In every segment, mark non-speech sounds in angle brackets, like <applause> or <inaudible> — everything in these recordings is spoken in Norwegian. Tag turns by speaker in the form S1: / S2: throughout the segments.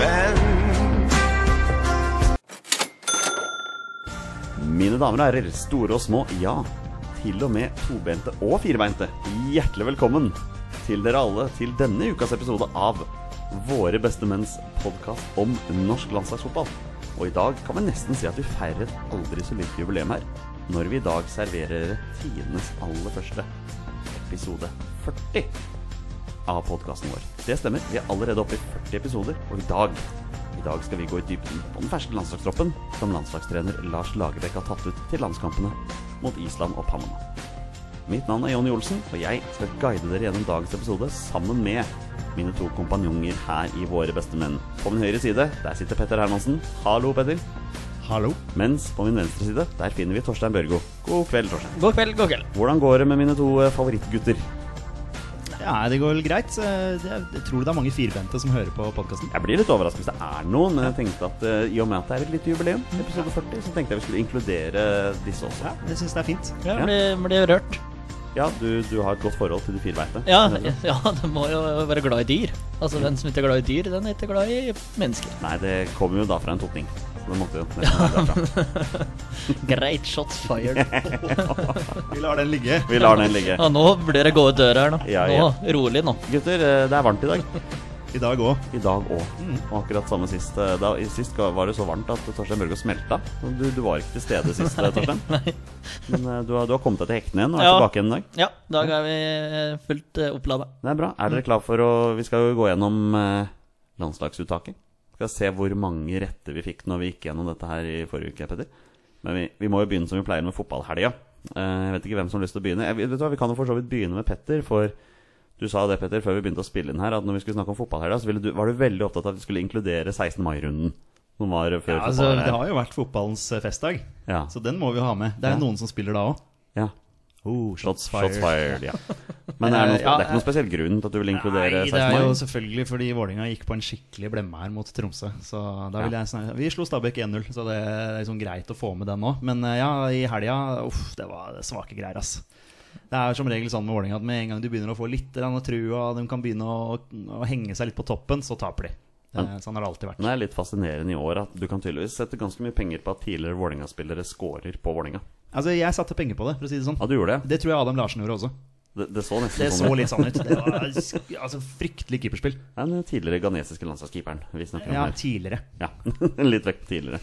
S1: menn.
S2: Mine damer og herrer, store og små, ja, til og med tobente og firbeinte, hjertelig velkommen til dere alle til denne ukas episode av Våre beste menns podkast om norsk landslagsfotball. Og i dag kan vi nesten si at vi feirer et aldri så lite jubileum her, når vi i dag serverer dere tidenes aller første episode 40 av podkasten vår. Det stemmer, vi er allerede oppe i 40 episoder, og i dag i dag skal vi gå i dybden på den ferske landslagstroppen som landslagstrener Lars Lagerbäck har tatt ut til landskampene mot Island og Panama. Mitt navn er Jonny Olsen, og jeg skal guide dere gjennom dagens episode sammen med mine to kompanjonger her i Våre beste menn. På min høyre side der sitter Petter Hermansen. Hallo, Petter.
S3: Hallo.
S2: Mens på min venstre side der finner vi Torstein Børgo. God kveld, Torstein.
S3: God kveld, god kveld.
S2: Hvordan går det med mine to eh, favorittgutter?
S3: Ja, det går vel greit. Eh, Jeg jeg tror det er mange firbente som hører på podkasten.
S2: Jeg blir litt overrasket hvis det er noen, men jeg tenkte at eh, i og med at det er et lite jubileum, episode 40, så tenkte jeg vi skulle inkludere disse også.
S3: Jeg syns det er fint.
S4: Ja,
S2: Ja.
S4: jeg blir, blir rørt.
S2: Ja, du, du har et godt forhold til de firbeinte.
S4: Ja,
S2: Nei,
S4: <laughs> ja, du må jo være glad i dyr. Altså, den som ikke er glad i dyr, den er ikke glad i mennesker.
S2: det kommer jo da fra en totning. Så det måtte jo nesten være derfra.
S4: Greit, shots fired.
S3: Vi lar den ligge.
S2: Vi lar den ligge.
S4: <laughs> Ja, nå blir det gå ut døra her nå.
S2: Ja, ja.
S4: Nå, Rolig nå.
S2: Gutter, eh, det er varmt i dag.
S3: I dag òg.
S2: I dag òg. Og akkurat samme sist. eh, Da, i sist ga- var det så varmt at Torstein Børgo smelta. Så Du, du var ikke til stede sist, eh, Torstein. Men eh, du har, du har kommet deg til hektene igjen og er
S4: Ja.
S2: tilbake igjen i dag.
S4: Ja, i dag er vi eh, fullt eh, opplada.
S2: Det er bra. Er
S3: Mm.
S2: dere klar for å Vi skal jo gå gjennom eh, landslagsuttaket. Vi skal se hvor mange rette vi fikk når vi gikk gjennom dette her i forrige uke, Petter. Men vi, vi må jo begynne som vi pleier med fotballhelga. Eh, jeg vet ikke hvem som har lyst til å begynne. Jeg, vet du hva, Vi kan jo for så vidt begynne med Petter, for du sa det, Petter, før vi begynte å spille inn her, at når vi skulle snakke om fotballhelga, så ville du, var du veldig opptatt av at vi skulle inkludere 16. mai-runden. Som var før
S3: Ja, altså, det
S2: fotballhelga.
S3: har jo vært fotballens eh, festdag,
S2: Ja.
S3: så den må vi jo ha med. Det er
S2: Ja.
S3: jo noen som spiller da òg.
S2: ja.
S3: Oh,
S2: Shots fired. Shots fired ja. Men det er, noe,
S3: <laughs> Ja,
S2: det er ikke noen spesiell grunn til at du vil inkludere
S3: Nei, det
S2: 16.
S3: er jo
S2: mai?
S3: selvfølgelig fordi Vålinga gikk på en skikkelig blemme her mot Tromsø. Så da vil
S2: Ja.
S3: jeg snakke. Vi slo Stabæk 1-0, så det er liksom greit å få med den nå. Men eh, ja, i helga Uff, det var svake greier, ass. Det er som regel sånn med Vålinga at med en gang de begynner å få litt grann trua, de kan begynne å, å henge seg litt på toppen, så taper de. Det, sånn har det alltid vært.
S2: Men Det er litt fascinerende i år at du kan tydeligvis sette ganske mye penger på at tidligere Vålerenga-spillere scorer på Vålerenga.
S3: Altså, jeg satte penger på det, for å si det sånn.
S2: Ja, du gjorde det.
S3: Det tror jeg Adam Larsen gjorde også.
S2: Det, det så nesten
S3: Det så
S2: sånn ut.
S3: litt sånn ut. Det var altså, fryktelig keeperspill.
S2: Det er Den tidligere ghanesiske landslagskeeperen vi snakker om
S3: Ja,
S2: her.
S3: tidligere.
S2: Ja, <laughs> Litt vekk tidligere.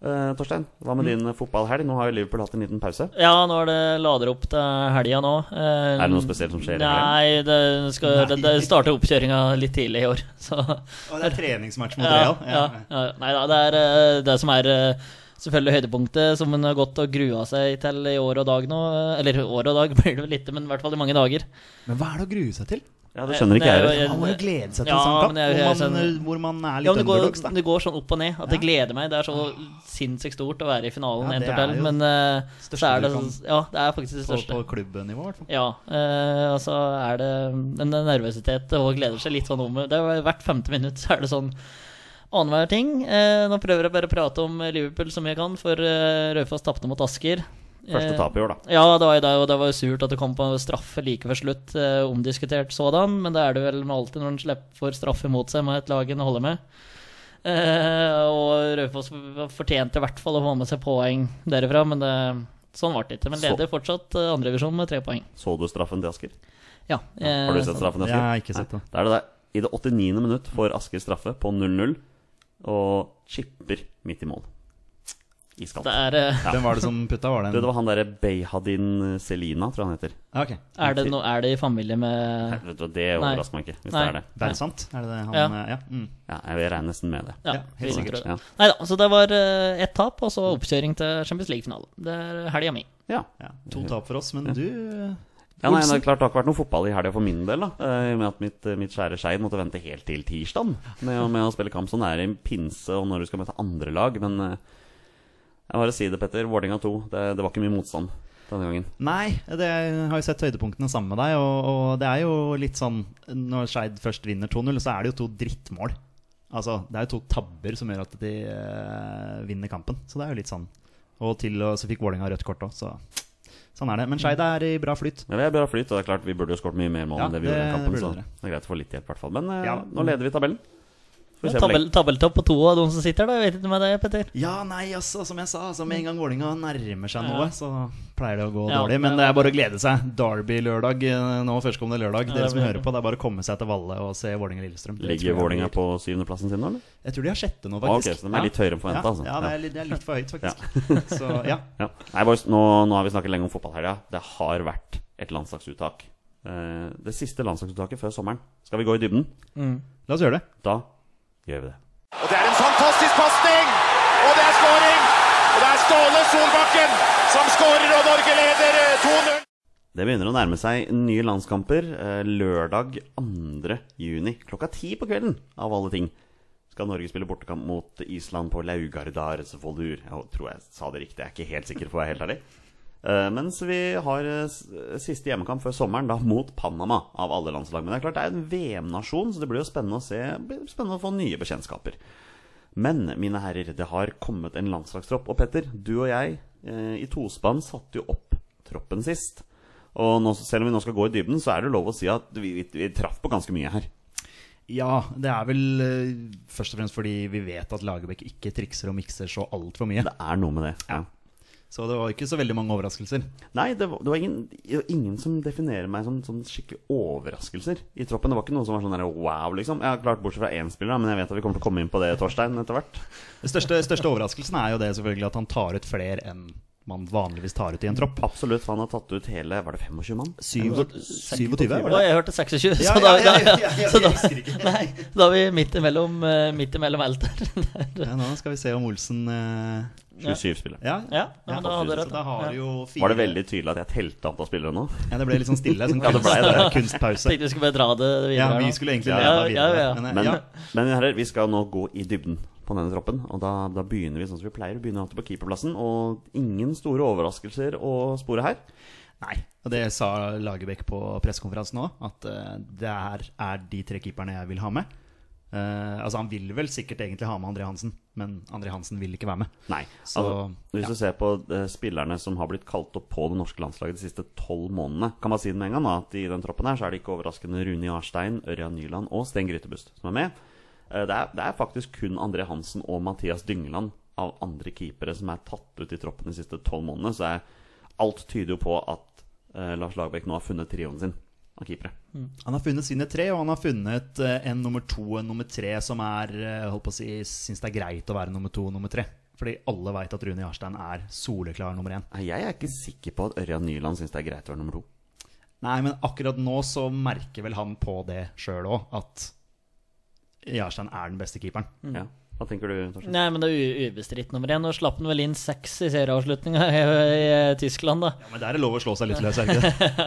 S2: Eh, Torstein, hva med din eh, fotballhelg? Nå har jo Liverpool hatt en liten pause.
S4: Ja, nå er det lader opp til helga nå. Eh,
S2: Er det noe spesielt som skjer i
S4: Nei, det, skal, det, det starter oppkjøringa litt tidlig i år, <laughs> så
S3: Og <laughs> det er treningsmatch mot
S4: Ja,
S3: Real.
S4: ja, ja. Nei da, det er eh, det som er eh, selvfølgelig høydepunktet som en har gått og grua seg til i år og dag nå. eh, Eller år og dag <laughs> blir det vel lite, men i hvert fall i mange dager.
S3: Men hva er det å grue seg til?
S2: Ja, Det skjønner ikke jeg
S4: Nei,
S2: heller.
S3: Man må jo glede seg til
S4: Ja,
S3: en sånn kamp,
S4: men jeg-
S3: hvor, man,
S4: jeg skjønner-
S3: hvor man er
S4: Ja,
S3: litt
S4: men det,
S3: underdogs.
S4: går,
S3: Da.
S4: det går sånn opp og ned at det
S3: Ja.
S4: gleder meg. Det er så sinnssykt stort å være i finalen
S3: Ja,
S4: en
S3: det
S4: tur til,
S3: er jo
S4: men eh,
S3: største
S4: så er det,
S3: du kan-
S4: ja, det er faktisk det
S3: På,
S4: største.
S3: på klubbenivå, i hvert fall.
S4: Ja, eh, og så er det en nervøsitet og gleder seg litt sånn om det. er Hvert femte minutt så er det sånn annenhver ting. Eh, nå prøver jeg bare å prate om Liverpool så mye jeg kan, for eh, Raufoss tapte mot Asker.
S2: Første
S4: Eh,
S2: tap i år, da.
S4: Ja, det var jo det, og det var jo surt at det kom på straffe like før slutt. Eh, omdiskutert sådan, men det er det vel med alltid når en slipper for straffe mot seg med et lag en holder med. Eh, og Raufoss fortjente i hvert fall å få med seg poeng derifra, men det, sånn ble det ikke. Men
S2: Så-
S4: leder fortsatt eh, andrevisjon med tre poeng.
S2: Så du straffen til Asker?
S4: Ja, eh,
S2: Har du sett straffen til
S3: Jeg
S2: Asker?
S3: har ikke sett det.
S2: Da er det der. I det 89. minutt får Asker straffe på 0-0, og chipper midt i mål. Iskaldt.
S4: Det er, eh,
S2: Ja.
S3: Hvem var det som putta? Var det
S2: Du,
S3: en
S2: det var han derre Beyhadin Selina, tror jeg han heter.
S3: Ja, ok.
S4: er, det no, er det i familie med
S2: Vet du, hva, det overrasker meg ikke, hvis
S4: Nei.
S2: det er det.
S3: Det er sant? Er det det han
S4: Ja.
S3: eh, ja. Mm.
S2: Ja, jeg regner nesten med det.
S4: Ja,
S3: Ja,
S4: vi
S3: helt
S4: sikrer
S2: sikkert,
S4: det.
S2: ja.
S4: Nei da, så det var eh, ett tap, og så oppkjøring til Champions League-finale. Det er helga mi.
S2: Ja.
S3: ja. To tap for oss, men du eh,
S2: ja nei, det
S3: Olsen.
S2: er klart det har ikke vært noe fotball i helga for min del, da. eh, I og med at mitt, mitt skjære Skeid måtte vente helt til tirsdag med, å- med å spille kamp. Sånn er det i pinse og når du skal møte andre lag. Men eh, jeg bare sier det, Petter. Vålerenga 2. Det, det var ikke mye motstand denne gangen.
S3: Nei, det jeg har jo sett høydepunktene sammen med deg, og, og det er jo litt sånn Når Skeid først vinner 2-0, så er det jo to drittmål. Altså, det er jo to tabber som gjør at de eh, vinner kampen, så det er jo litt sånn. Og til og så fikk Vålerenga rødt kort òg, så sånn er det. Men Skeid er i bra flyt.
S2: Men vi er bra flyt, og det er klart vi burde jo skåret mye mer mål
S3: Ja,
S2: enn det vi gjorde i
S3: det
S2: den kampen.
S3: burde
S2: Så
S3: dere.
S2: det er greit å få litt hjelp, i hvert fall. Men eh,
S3: Ja.
S2: nå leder vi tabellen. Får vi se hvor
S4: Tabell,
S2: lenge.
S4: tabelltopp på to av de som sitter der. Jeg vet ikke med deg, Petter.
S3: Ja, nei, altså, som jeg sa, altså, med en gang Vålinga nærmer seg
S4: Ja.
S3: noe, så pleier det å gå
S4: Ja,
S3: dårlig. Men
S4: det-
S3: det er bare å glede seg. Derby lørdag eh, nå, førstkommende lørdag.
S4: Ja,
S3: Dere
S4: det
S3: som
S4: blir-
S3: hører på, det er bare å komme seg til Valle og se Vålinga-Lillestrøm. Det tror
S2: Ligger
S3: jeg
S2: Vålinga
S3: blir-
S2: på syvendeplassen sin nå, eller?
S3: Jeg tror de har sjette nå,
S2: Ah, Ok,
S3: faktisk.
S2: så de er litt høyere enn forventa, altså.
S3: Ja, ja det, er litt, det er litt for høyt, faktisk. Så ja.
S2: Ja. <laughs> Nei, boys, nå, nå har vi snakket lenge om fotballhelga. Det har vært et landslagsuttak. Eh, det siste landslagsuttaket før sommeren. Skal vi gå i dybden?
S3: La oss gjøre det.
S2: Da gjør vi det.
S1: Og det er en fantastisk pasning! Og det er skåring! Og det er Ståle Solbakken som skårer, og Norge leder eh, 2-0.
S2: Det begynner å nærme seg nye landskamper. Eh, Lørdag 2. juni klokka ti på kvelden, av alle ting, skal Norge spille bortekamp mot Island på Laugardars Voldur. Jeg tror jeg sa det riktig, jeg er ikke helt sikker, for å være helt ærlig. Eh, Mens vi har eh, s- siste hjemmekamp før sommeren, da mot Panama, av alle landslag. Men det er klart det er en VM-nasjon, så det blir jo spennende å, se, blir spennende å få nye bekjentskaper. Men mine herrer, det har kommet en landslagstropp. Og Petter, du og jeg eh, i tospann satte jo opp troppen sist. Og nå, selv om vi nå skal gå i dybden, så er det lov å si at vi, vi, vi traff på ganske mye her.
S3: Ja, det er vel eh, først og fremst fordi vi vet at Lagerbäck ikke trikser og mikser så altfor mye.
S2: Det er noe med det. Ja.
S3: Så det var ikke så veldig mange overraskelser.
S2: Nei, det var, det var ingen, det var ingen som definerer meg som, som skikkelig overraskelser i troppen. Det var ikke noe som var sånn der, wow, liksom. Jeg har klart Bortsett fra én spiller, da, men jeg vet at vi kommer til å komme inn på det, Torstein, etter hvert.
S3: Den største, største overraskelsen er jo det selvfølgelig at han tar ut flere enn man vanligvis tar ut i en tropp.
S2: Absolutt, for han har tatt ut hele Var det 25 mann?
S3: Syv- 27, var
S4: Og
S3: det?
S4: jeg hørte 26, så
S3: Ja,
S4: da,
S3: ja, ja, ja, ja, ja,
S4: så da,
S3: jeg husker ikke.
S4: nei, da er vi midt imellom, eh, midt imellom alt der.
S3: <laughs> Ja, nå skal vi se om Olsen eh,
S2: 27 spillere.
S3: Ja,
S4: Ja, ja, men da hadde du
S3: så
S4: rett.
S3: da har du jo fire
S2: Var det veldig tydelig at jeg telte antall spillere nå?
S3: Ja, det ble litt sånn stille. Sånn
S2: <laughs> Ja, det ble det.
S3: kunstpause.
S4: Tenkte vi skulle bare dra det videre.
S3: Ja,
S4: her
S3: vi
S4: nå.
S3: skulle egentlig
S4: Ja,
S3: leda
S4: ja,
S3: videre.
S4: ja.
S3: Men, eh,
S2: Men,
S3: ja.
S2: men mine herrer, vi skal nå gå i dybden på denne troppen. Og da, da begynner vi sånn som vi pleier. Vi begynner alltid på keeperplassen. Og ingen store overraskelser å spore her.
S3: Nei. Og det sa Lagerbäck på pressekonferansen òg, at eh, det her er de tre keeperne jeg vil ha med. Eh, altså Han vil vel sikkert egentlig ha med André Hansen, men André Hansen vil ikke være med.
S2: Nei.
S3: Så,
S2: altså, hvis
S3: ja.
S2: du ser på eh, spillerne som har blitt kalt opp på det norske landslaget de siste tolv månedene, kan man si det med en gang da, at i den troppen her så er det ikke overraskende Rune Jarstein, Ørjan Nyland og Sten Grytebust som er med. Eh, Det er, det er faktisk kun André Hansen og Mathias Dyngeland av andre keepere som er tatt ut i troppen de siste tolv månedene. Så er, alt tyder jo på at eh, Lars Lagerbäck nå har funnet trioen sin av keepere.
S3: Han har funnet sine tre, og han har funnet eh, en nummer to og en nummer tre som er eh, holdt på å si, syns det er greit å være nummer to og nummer tre. Fordi alle veit at Rune Jarstein er soleklar nummer én.
S2: Nei, Jeg er ikke sikker på at Ørjan Nyland syns det er greit å være nummer to.
S3: Nei, men akkurat nå så merker vel han på det sjøl òg, at Jarstein er den beste keeperen.
S2: Ja. Hva tenker du, Torstein?
S4: Nei, men det er u- ubestridt nummer én. Nå slapp han vel inn seks i serieavslutninga i, i Tyskland, da.
S3: Ja, men der er det lov å slå seg litt løs, <laughs> er det ikke det?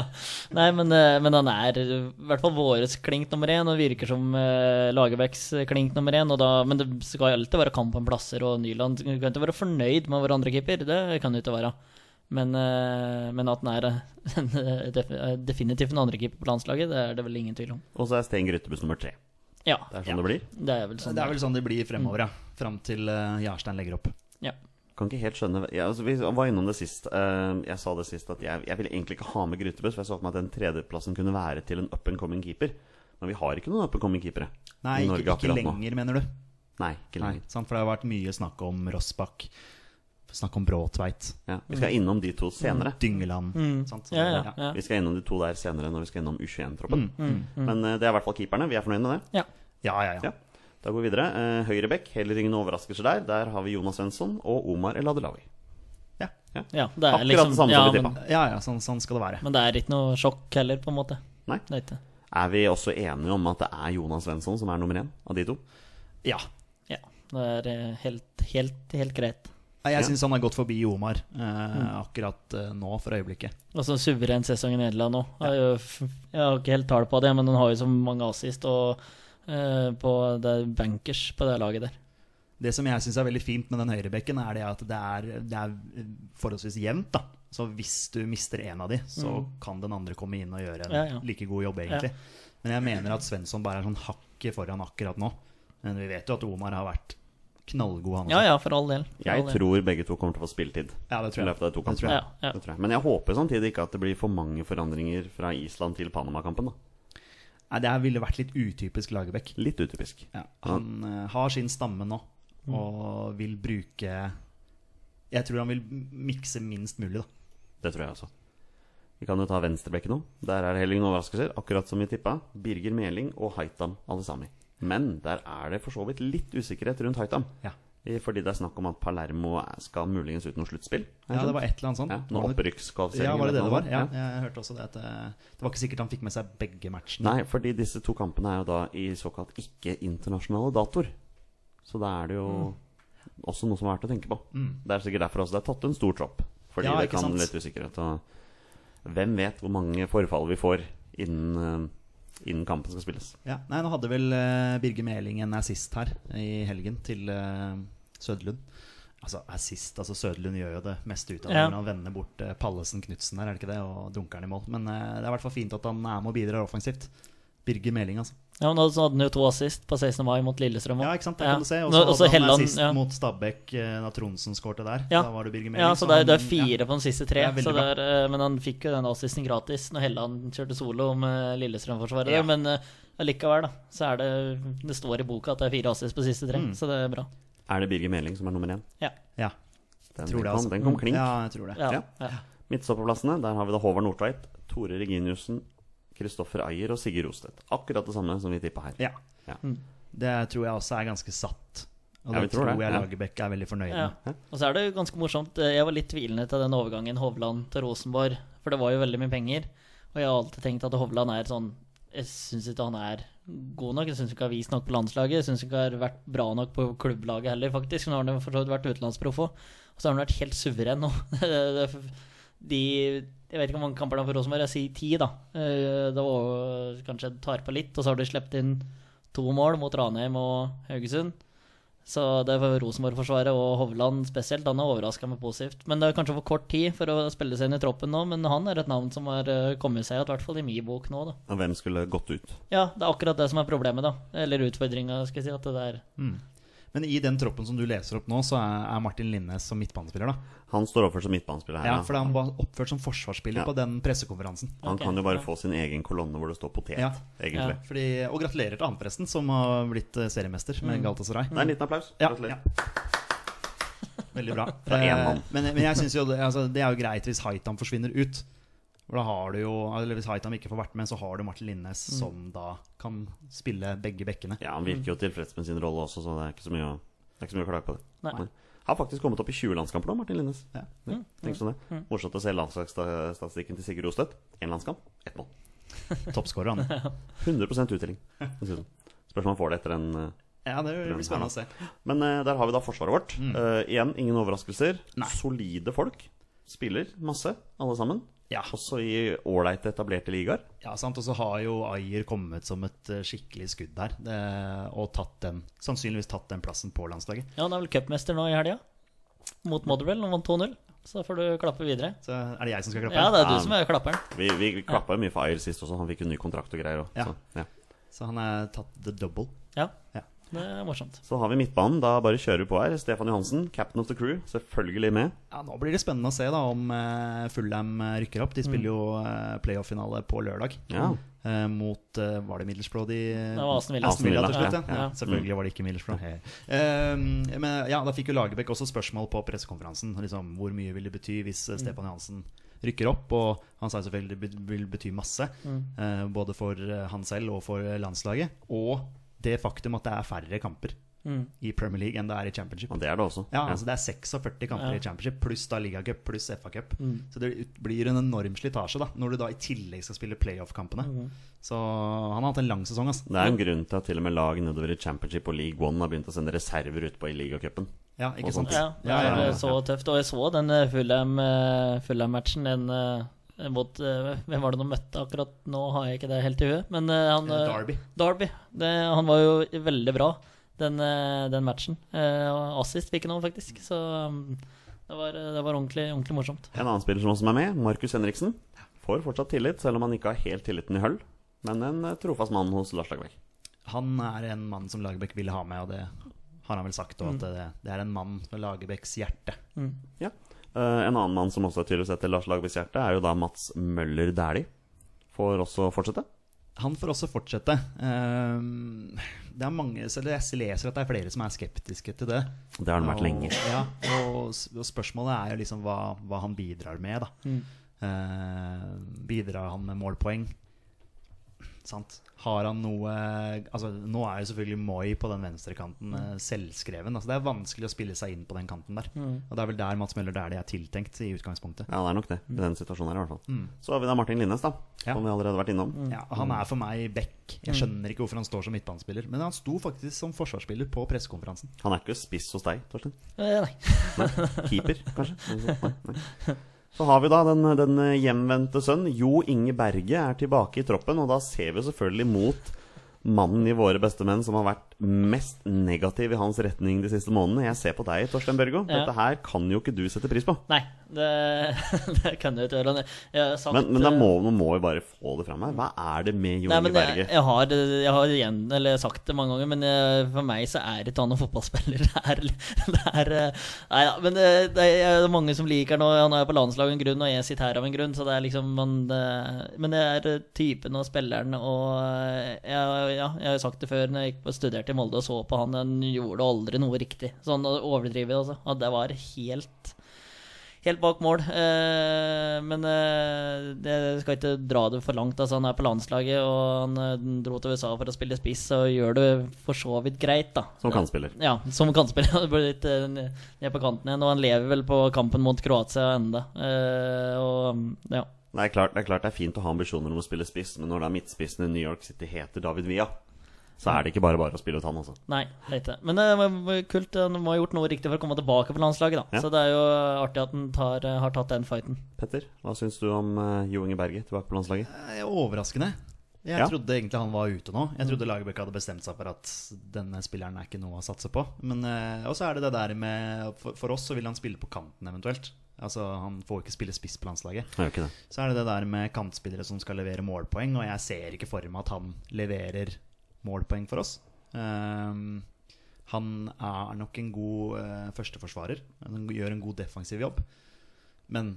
S4: Nei, men, eh, men han er eh, i hvert fall våres klink nummer én, og virker som eh, Lagerbäcks klink nummer én. Og da, men det skal jo alltid være kamp om plasser, og Nyland kan ikke være fornøyd med vår andre keeper. Det kan det ikke være. Men, eh, men at han er eh, en, eh, def- eh, definitivt en andrekeeper på landslaget, det er det vel ingen tvil om.
S2: Og så er Sten Grytebust nummer tre.
S4: Ja,
S2: Det er sånn det blir.
S4: det er vel sånn.
S3: Det er vel sånn det blir fremover, ja. Fram til eh, Jarstein legger opp.
S4: Ja.
S2: Kan ikke helt skjønne ja, altså, Vi var innom det sist. Eh, jeg sa det sist at jeg, jeg ville egentlig ikke ha med Grytebust, for jeg så for meg at den tredjeplassen kunne være til en up and coming keeper. Men vi har ikke noen up and coming keepere
S3: Nei,
S2: i
S3: ikke,
S2: Norge
S3: ikke
S2: akkurat nå.
S3: lenger, mener du?
S2: Nei, ikke
S3: Nei,
S2: lenger.
S3: sant? For det har vært mye snakk om Rossbakk, snakk om Bråtveit,
S2: Ja, vi skal
S3: Mm.
S2: innom de to senere.
S3: Dyngeland. Sant? Så,
S4: Mm. Ja, ja,
S3: Mm. ja.
S4: ja.
S2: Vi skal innom de to der senere når vi skal innom U21-troppen.
S3: Mm.
S2: Men eh, det er i hvert fall keeperne. Vi er fornøyd med det.
S4: ja.
S3: Ja, ja, ja.
S2: Ja. Da går vi videre. Uh, Høyrebekk, heller ingen overraskelser der. Der har vi Jonas Svensson og Omar El Adelawi.
S3: Ja.
S2: Ja.
S4: ja det er
S2: Akkurat
S4: liksom,
S2: det samme
S4: ja,
S2: som vi
S4: men,
S2: tippa.
S3: Ja, ja, sånn, sånn skal det være.
S4: men det er ikke noe sjokk heller, på en måte.
S2: Nei.
S4: Det er ikke.
S2: Er vi også enige om at det er Jonas Svensson som er nummer én av de to?
S3: Ja.
S4: Ja, det er eh, helt, helt, helt greit.
S3: Nei, Jeg syns han har gått forbi Omar eh,
S4: Mm.
S3: akkurat eh, nå, for øyeblikket.
S4: Og så en sånn suveren sesong i Nederland òg. Jeg har ikke helt tall på det, men han har jo så mange assist og eh, på det er bankers på det laget der.
S3: Det som jeg syns er veldig fint med den høyrebekken, er det at det er, det er eh, forholdsvis jevnt. da Så hvis du mister en av de, så kan den andre komme inn og gjøre en
S4: Mm. Ja, ja.
S3: like god jobb, egentlig. Men jeg mener at Svensson bare er sånn hakket foran akkurat nå. Men vi vet jo at Omar har vært knallgod, han også.
S4: Ja ja, for all del. For
S2: Jeg
S4: all del.
S2: tror begge to kommer til å få spilletid.
S3: Ja, det tror jeg.
S2: I løpet av de to
S3: Det tror
S2: kampene.
S4: jeg. Ja, ja.
S2: Det tror jeg. Men jeg håper samtidig ikke at det blir for mange forandringer fra Island til Panama-kampen. da
S3: Nei, det her ville vært litt utypisk Lagerbäck.
S2: Litt utypisk.
S3: Ja, han eh, har sin stamme nå, og vil bruke Jeg tror han vil mikse minst mulig, da.
S2: Det tror jeg også. Vi kan jo ta venstrebekken nå. Der er det heller ingen overraskelser, akkurat som vi tippa. Birger Meling og Haitam Alesami. Men der er det for så vidt litt usikkerhet rundt Haitam.
S3: Ja,
S2: Eh, Fordi det er snakk om at Palermo er- skal muligens ut noe sluttspill.
S3: ja
S2: har jeg
S3: det
S2: skjønt.
S3: var et eller annet sånt.
S2: ja, Noe
S3: Var det-
S2: opprykkskvalifisering.
S3: ja, var det det det
S2: eller noe
S3: var?
S2: sånt.
S3: Ja, jeg hørte også det at eh, det var ikke sikkert han fikk med seg begge matchene.
S2: Nei, fordi disse to kampene er jo da i såkalt ikke-internasjonale datoer. Så da er det jo
S3: Mm.
S2: også noe som er verdt å tenke på. Det er sikkert derfor også det er tatt en stor tropp. Fordi
S3: Ja,
S2: det
S3: ikke
S2: kan
S3: sant?
S2: litt usikkerhet. Og hvem vet hvor mange forfall vi får innen, eh, innen kampen skal spilles.
S3: Ja, nei, nå hadde vel eh, Birger Meling en assist her i helgen til eh, Sødlund. Altså assist, altså Sødlund gjør jo det meste ut av det
S4: Ja.
S3: når han vender bort eh, Pallesen Knutsen der, er det ikke det, og dunker han i mål. Men eh, det er i hvert fall fint at han er med og bidrar offensivt. Birger Meling, altså.
S4: Ja, men da så hadde han jo to assist på 16. mai mot Lillestrøm. også.
S3: Ja, ikke sant, det kan du se. Og
S4: Nå-
S3: så hadde han
S4: Helland,
S3: assist
S4: ja.
S3: mot Stabæk eh, da Tronsen skårte der.
S4: Ja.
S3: Da var det Birger Meling.
S4: Ja, så det er, det er
S3: han-
S4: fire
S3: ja.
S4: på den siste tre.
S3: Det er veldig
S4: så det er, eh, men han fikk jo den assisten gratis når Helland kjørte solo med Lillestrøm-forsvaret.
S3: Ja.
S4: Men eh, allikevel, da, så er det Det står i boka at det er fire assist på siste
S3: Mm.
S4: tre, så det er bra.
S2: Er det Birger Meling som er nummer én?
S4: Ja.
S3: Ja,
S2: Den,
S3: tror
S2: den,
S3: det,
S2: kom,
S3: altså.
S2: den kom klink.
S3: Ja, jeg tror det.
S4: Ja,
S2: Ja.
S4: ja.
S2: Midtstopperplassene, der har vi da Håvard Nordtveit, Tore Reginiussen, Kristoffer Ayer og Sigurd Rostedt. Akkurat det samme som vi tippa her.
S3: Ja. Mm.
S2: Ja.
S3: Det tror jeg også er ganske satt. Og
S2: Ja, vi
S3: det
S2: tror
S3: tror,
S2: det,
S3: jeg
S2: ja.
S3: Lagerbäck er veldig fornøyd
S4: Ja.
S3: med.
S4: Og så er det jo ganske morsomt. eh, Jeg var litt tvilende til den overgangen Hovland til Rosenborg, for det var jo veldig mye penger. Og jeg har alltid tenkt at Hovland er sånn Jeg syns ikke han er god nok. Jeg syns ikke han har vist nok på landslaget. Jeg syns ikke han har vært bra nok på klubblaget heller, faktisk. Nå har han jo for så vidt vært utenlandsproff òg. Og så har han vært helt suveren nå. <laughs> Det er f- De Jeg vet ikke hvor mange kamper det er for Rosenborg. Jeg sier ti, da. Eh, Det var jo kanskje jeg tar på litt, og så har de sluppet inn to mål mot Ranheim og Haugesund. Så det var Rosenborg-forsvaret og Hovland spesielt. Han har overraska meg positivt. Men det er kanskje for kort tid for å spille seg inn i troppen nå, men han er et navn som har eh, kommet seg, i hvert fall i min bok nå, da.
S2: Og hvem skulle gått ut?
S4: Ja, det er akkurat det som er problemet, da. Eller utfordringa, skal jeg si. At det der
S3: Men i den troppen som du leser opp nå, så er er Martin Linnes som midtbanespiller, da.
S2: Han står overfor som midtbanespiller her.
S3: Ja,
S2: ja.
S3: for han var oppført som forsvarsspiller
S2: Ja.
S3: på den pressekonferansen.
S2: Han
S4: Ok,
S2: kan jo bare
S4: ja.
S2: få sin egen kolonne hvor det står potet,
S3: Ja. Mm.
S2: egentlig.
S3: Fordi, og gratulerer til han, forresten, som har blitt eh, seriemester
S2: Mm.
S3: med Galatasaray.
S2: Det er en liten applaus.
S3: Ja,
S2: Gratulerer.
S3: Veldig bra.
S2: Fra én mann.
S3: Eh, Men, men jeg synes jo det, altså, det er jo greit hvis Haitam forsvinner ut. For da har du jo, eller Hvis Haitam ikke får vært med, så har du Martin Linnes som da kan spille begge
S2: <laughs>
S3: bekkene.
S2: Ja, han virker jo tilfreds med sin rolle også, så det er ikke så mye å, det er ikke så mye å klage på det.
S4: Nei. Mm.
S2: Har faktisk kommet opp i 20 landskamper nå, Martin Linnes.
S3: Ja.
S2: Tenk sånn det. Morsomt å se landslagsstatistikken til Sigurd Rostedt. Én landskamp, ett mål.
S3: Toppskårer, han.
S2: 100 uttelling. for å si det sånn. Spørs om han får det etter den eh,
S3: Ja, det blir spennende å se.
S2: Men eh, der har vi da forsvaret vårt. Eh, igjen, ingen overraskelser.
S3: Mm. Nei.
S2: Solide folk. Spiller masse, alle sammen.
S3: Ja.
S2: Også i ålreite etablerte ligaer.
S3: Ja, sant, og så har jo Ayer kommet som et eh, skikkelig skudd der, det, og tatt den, sannsynligvis tatt den plassen på landslaget.
S4: Ja, han er vel cupmester nå i helga. Mot Motherwell, han vant 2-0. Så da får du klappe videre.
S3: Så er det jeg som skal klappe?
S4: Ja, det er du som er klapperen.
S2: Vi, vi, vi klappa jo mye for Ayer sist også, han fikk jo ny kontrakt og greier. også.
S3: Ja.
S2: Så, ja.
S3: Så han er tatt the double.
S4: Ja,
S3: Ja.
S4: det er morsomt.
S2: så har vi midtbanen. Da bare kjører vi på her. Stefan Johansen, captain of the crew, selvfølgelig med.
S3: Ja, Nå blir det spennende å se da om eh, Fulham eh, rykker opp. De spiller jo eh, playoff-finale på lørdag.
S2: Mm. Ja.
S3: Eh, mot eh, Var det Middlesbrough de
S4: Det var Aston Villa.
S3: Aston Villa til
S2: Aston Villa,
S3: slutt, ja.
S2: ja, Mm.
S3: ja.
S4: ja.
S3: Selvfølgelig var det ikke Middlesbrough. Hei. Eh, men ja, da fikk jo Lagerbäck også spørsmål på pressekonferansen. Liksom, hvor mye vil det bety hvis
S4: Mm.
S3: eh, Stefan Johansen rykker opp? Og han sa selvfølgelig det bet- vil bety masse.
S4: Mm.
S3: eh, både for eh, han selv og for eh, landslaget. Og det faktum at det er færre kamper
S4: Mm.
S3: i Premier League enn det er i Championship.
S2: Og det er det også.
S3: Ja, altså Det er 46 kamper i Championship, pluss da ligacup, pluss FA-cup.
S4: Mm.
S3: Så det blir en enorm slitasje da når du da i tillegg skal spille playoff-kampene.
S4: Mm.
S3: Så han har hatt en lang sesong. altså. ass.
S2: Det er jo en grunn til at til og med lag nedover i Championship og League One har begynt å sende reserver utpå i ligacupen.
S3: Ja, ikke
S2: Og
S3: sant?
S2: sånt.
S4: Ja, det er så tøft. Og jeg så den eh, Fulham, eh, Fulham-matchen den, eh, mot eh, Hvem var det de møtte akkurat nå? Har jeg ikke det helt i huet. Men eh, han eh,
S3: Derby.
S4: Derby. Det, han var jo veldig bra den, eh, den matchen. Eh, Og assist fikk han også, faktisk. Så um, det var, det var ordentlig, ordentlig morsomt.
S2: En annen spiller som også er med, Markus Henriksen, får fortsatt tillit, selv om han ikke har helt tilliten i høll. Men en eh, trofast mann hos Lars Lagerbäck.
S3: Han er en mann som Lagerbäck ville ha med, og det har han vel sagt.
S4: Mm.
S3: Og at det, det er en mann med Lagerbäcks hjerte.
S2: Ja. Eh, en annen mann som også er tydelig sett til Lars Lagerbäcks hjerte, er jo da Mats Møller Dæhlie. Får også fortsette.
S3: han får også fortsette. Ehm, det er mange, eller Jeg leser at det er flere som er skeptiske til det.
S2: Det har han vært lenge.
S3: Og, ja, og, s- og spørsmålet er jo liksom hva, hva han bidrar med, da. Eh, bidrar han med målpoeng? Sant? Har han noe altså, Nå er jo selvfølgelig Moi på den venstrekanten eh, selvskreven. Altså, det er vanskelig å spille seg inn på den kanten der. Og det er vel der Mats Møller det er det er tiltenkt i utgangspunktet.
S2: Ja, det er nok det. I den situasjonen her, i hvert fall.
S4: Mm.
S2: Så har vi da Martin Linnes, da.
S3: Ja.
S2: Som vi allerede har vært innom.
S3: Ja, han er for meg back. Jeg skjønner ikke hvorfor han står som midtbanespiller. Men han sto faktisk som forsvarsspiller på pressekonferansen.
S2: Han er ikke spiss hos deg,
S4: <laughs>
S2: Torstein.
S4: Eh, nei.
S2: Keeper, kanskje? Nei, nei. Så har vi da den, den hjemvendte sønn. Jo Inge Berge er tilbake i troppen, og da ser vi selvfølgelig mot mannen i Våre bestemenn som har vært mest negativ i hans retning de siste månedene. Jeg ser på deg, Torstein Børgo.
S4: Ja.
S2: Dette her kan jo ikke du sette pris på.
S4: Nei, det, <laughs> det kan jeg ikke gjøre. Jeg har sagt,
S2: Men, men da
S4: eh,
S2: må, nå må vi bare få det fram her. Hva er det med Jo
S4: Nei,
S2: Inge
S4: men jeg,
S2: Berge?
S4: jeg, har, jeg har igjen, eller sagt det mange ganger, men eh, for meg så er ikke han noen fotballspiller. <laughs> Det er, det er eh, Nei da, men eh, det er mange som liker han, og han er på landslaget av en grunn, og jeg sitter her av en grunn, så det er liksom man, det- Men det er eh, typen og spilleren, og eh, jeg, ja, jeg har jo sagt det før når jeg gikk på studerte i Molde og så på han, han gjorde aldri noe riktig. Sånn overdrivet, altså. Og det var helt helt bak mål. Eh, men eh, det- jeg skal ikke dra det for langt. Altså, han er på landslaget, og han eh, dro til USA for å spille spiss, og gjør det for så vidt greit, da.
S2: Som kantspiller.
S4: Ja, som kantspiller. <laughs> Han ble litt eh, ned ned på kanten igjen, og han lever vel på kampen mot Kroatia enda. Eh, og mm, ja.
S2: Det er, klart, det er klart det er fint å ha ambisjoner om å spille spiss, men når da midtspissen i New York City heter David Villa, så er det ikke bare bare å spille ut han, altså.
S4: Nei, det er ikke det. Men det var kult. Han må ha gjort noe riktig for å komme tilbake på landslaget, da.
S2: Ja.
S4: Så det er jo artig at han tar, eh, har tatt den fighten.
S2: Petter, hva syns du om eh, Jo Inge Berge tilbake på landslaget?
S3: Eh, Overraskende. Jeg
S2: Ja.
S3: trodde egentlig han var ute nå. Jeg trodde Lagerbäck hadde bestemt seg for at denne spilleren er ikke noe å satse på. Men, eh, og så er det det der med for, for oss så vil han spille på kanten eventuelt. Altså Han får ikke spille spiss på landslaget.
S2: Han gjør ikke det.
S3: Så er det det der med kantspillere som skal levere målpoeng, og jeg ser ikke for meg at han leverer målpoeng for oss. Ehm, han er nok en god eh, førsteforsvarer. Han gjør en god defensiv jobb. Men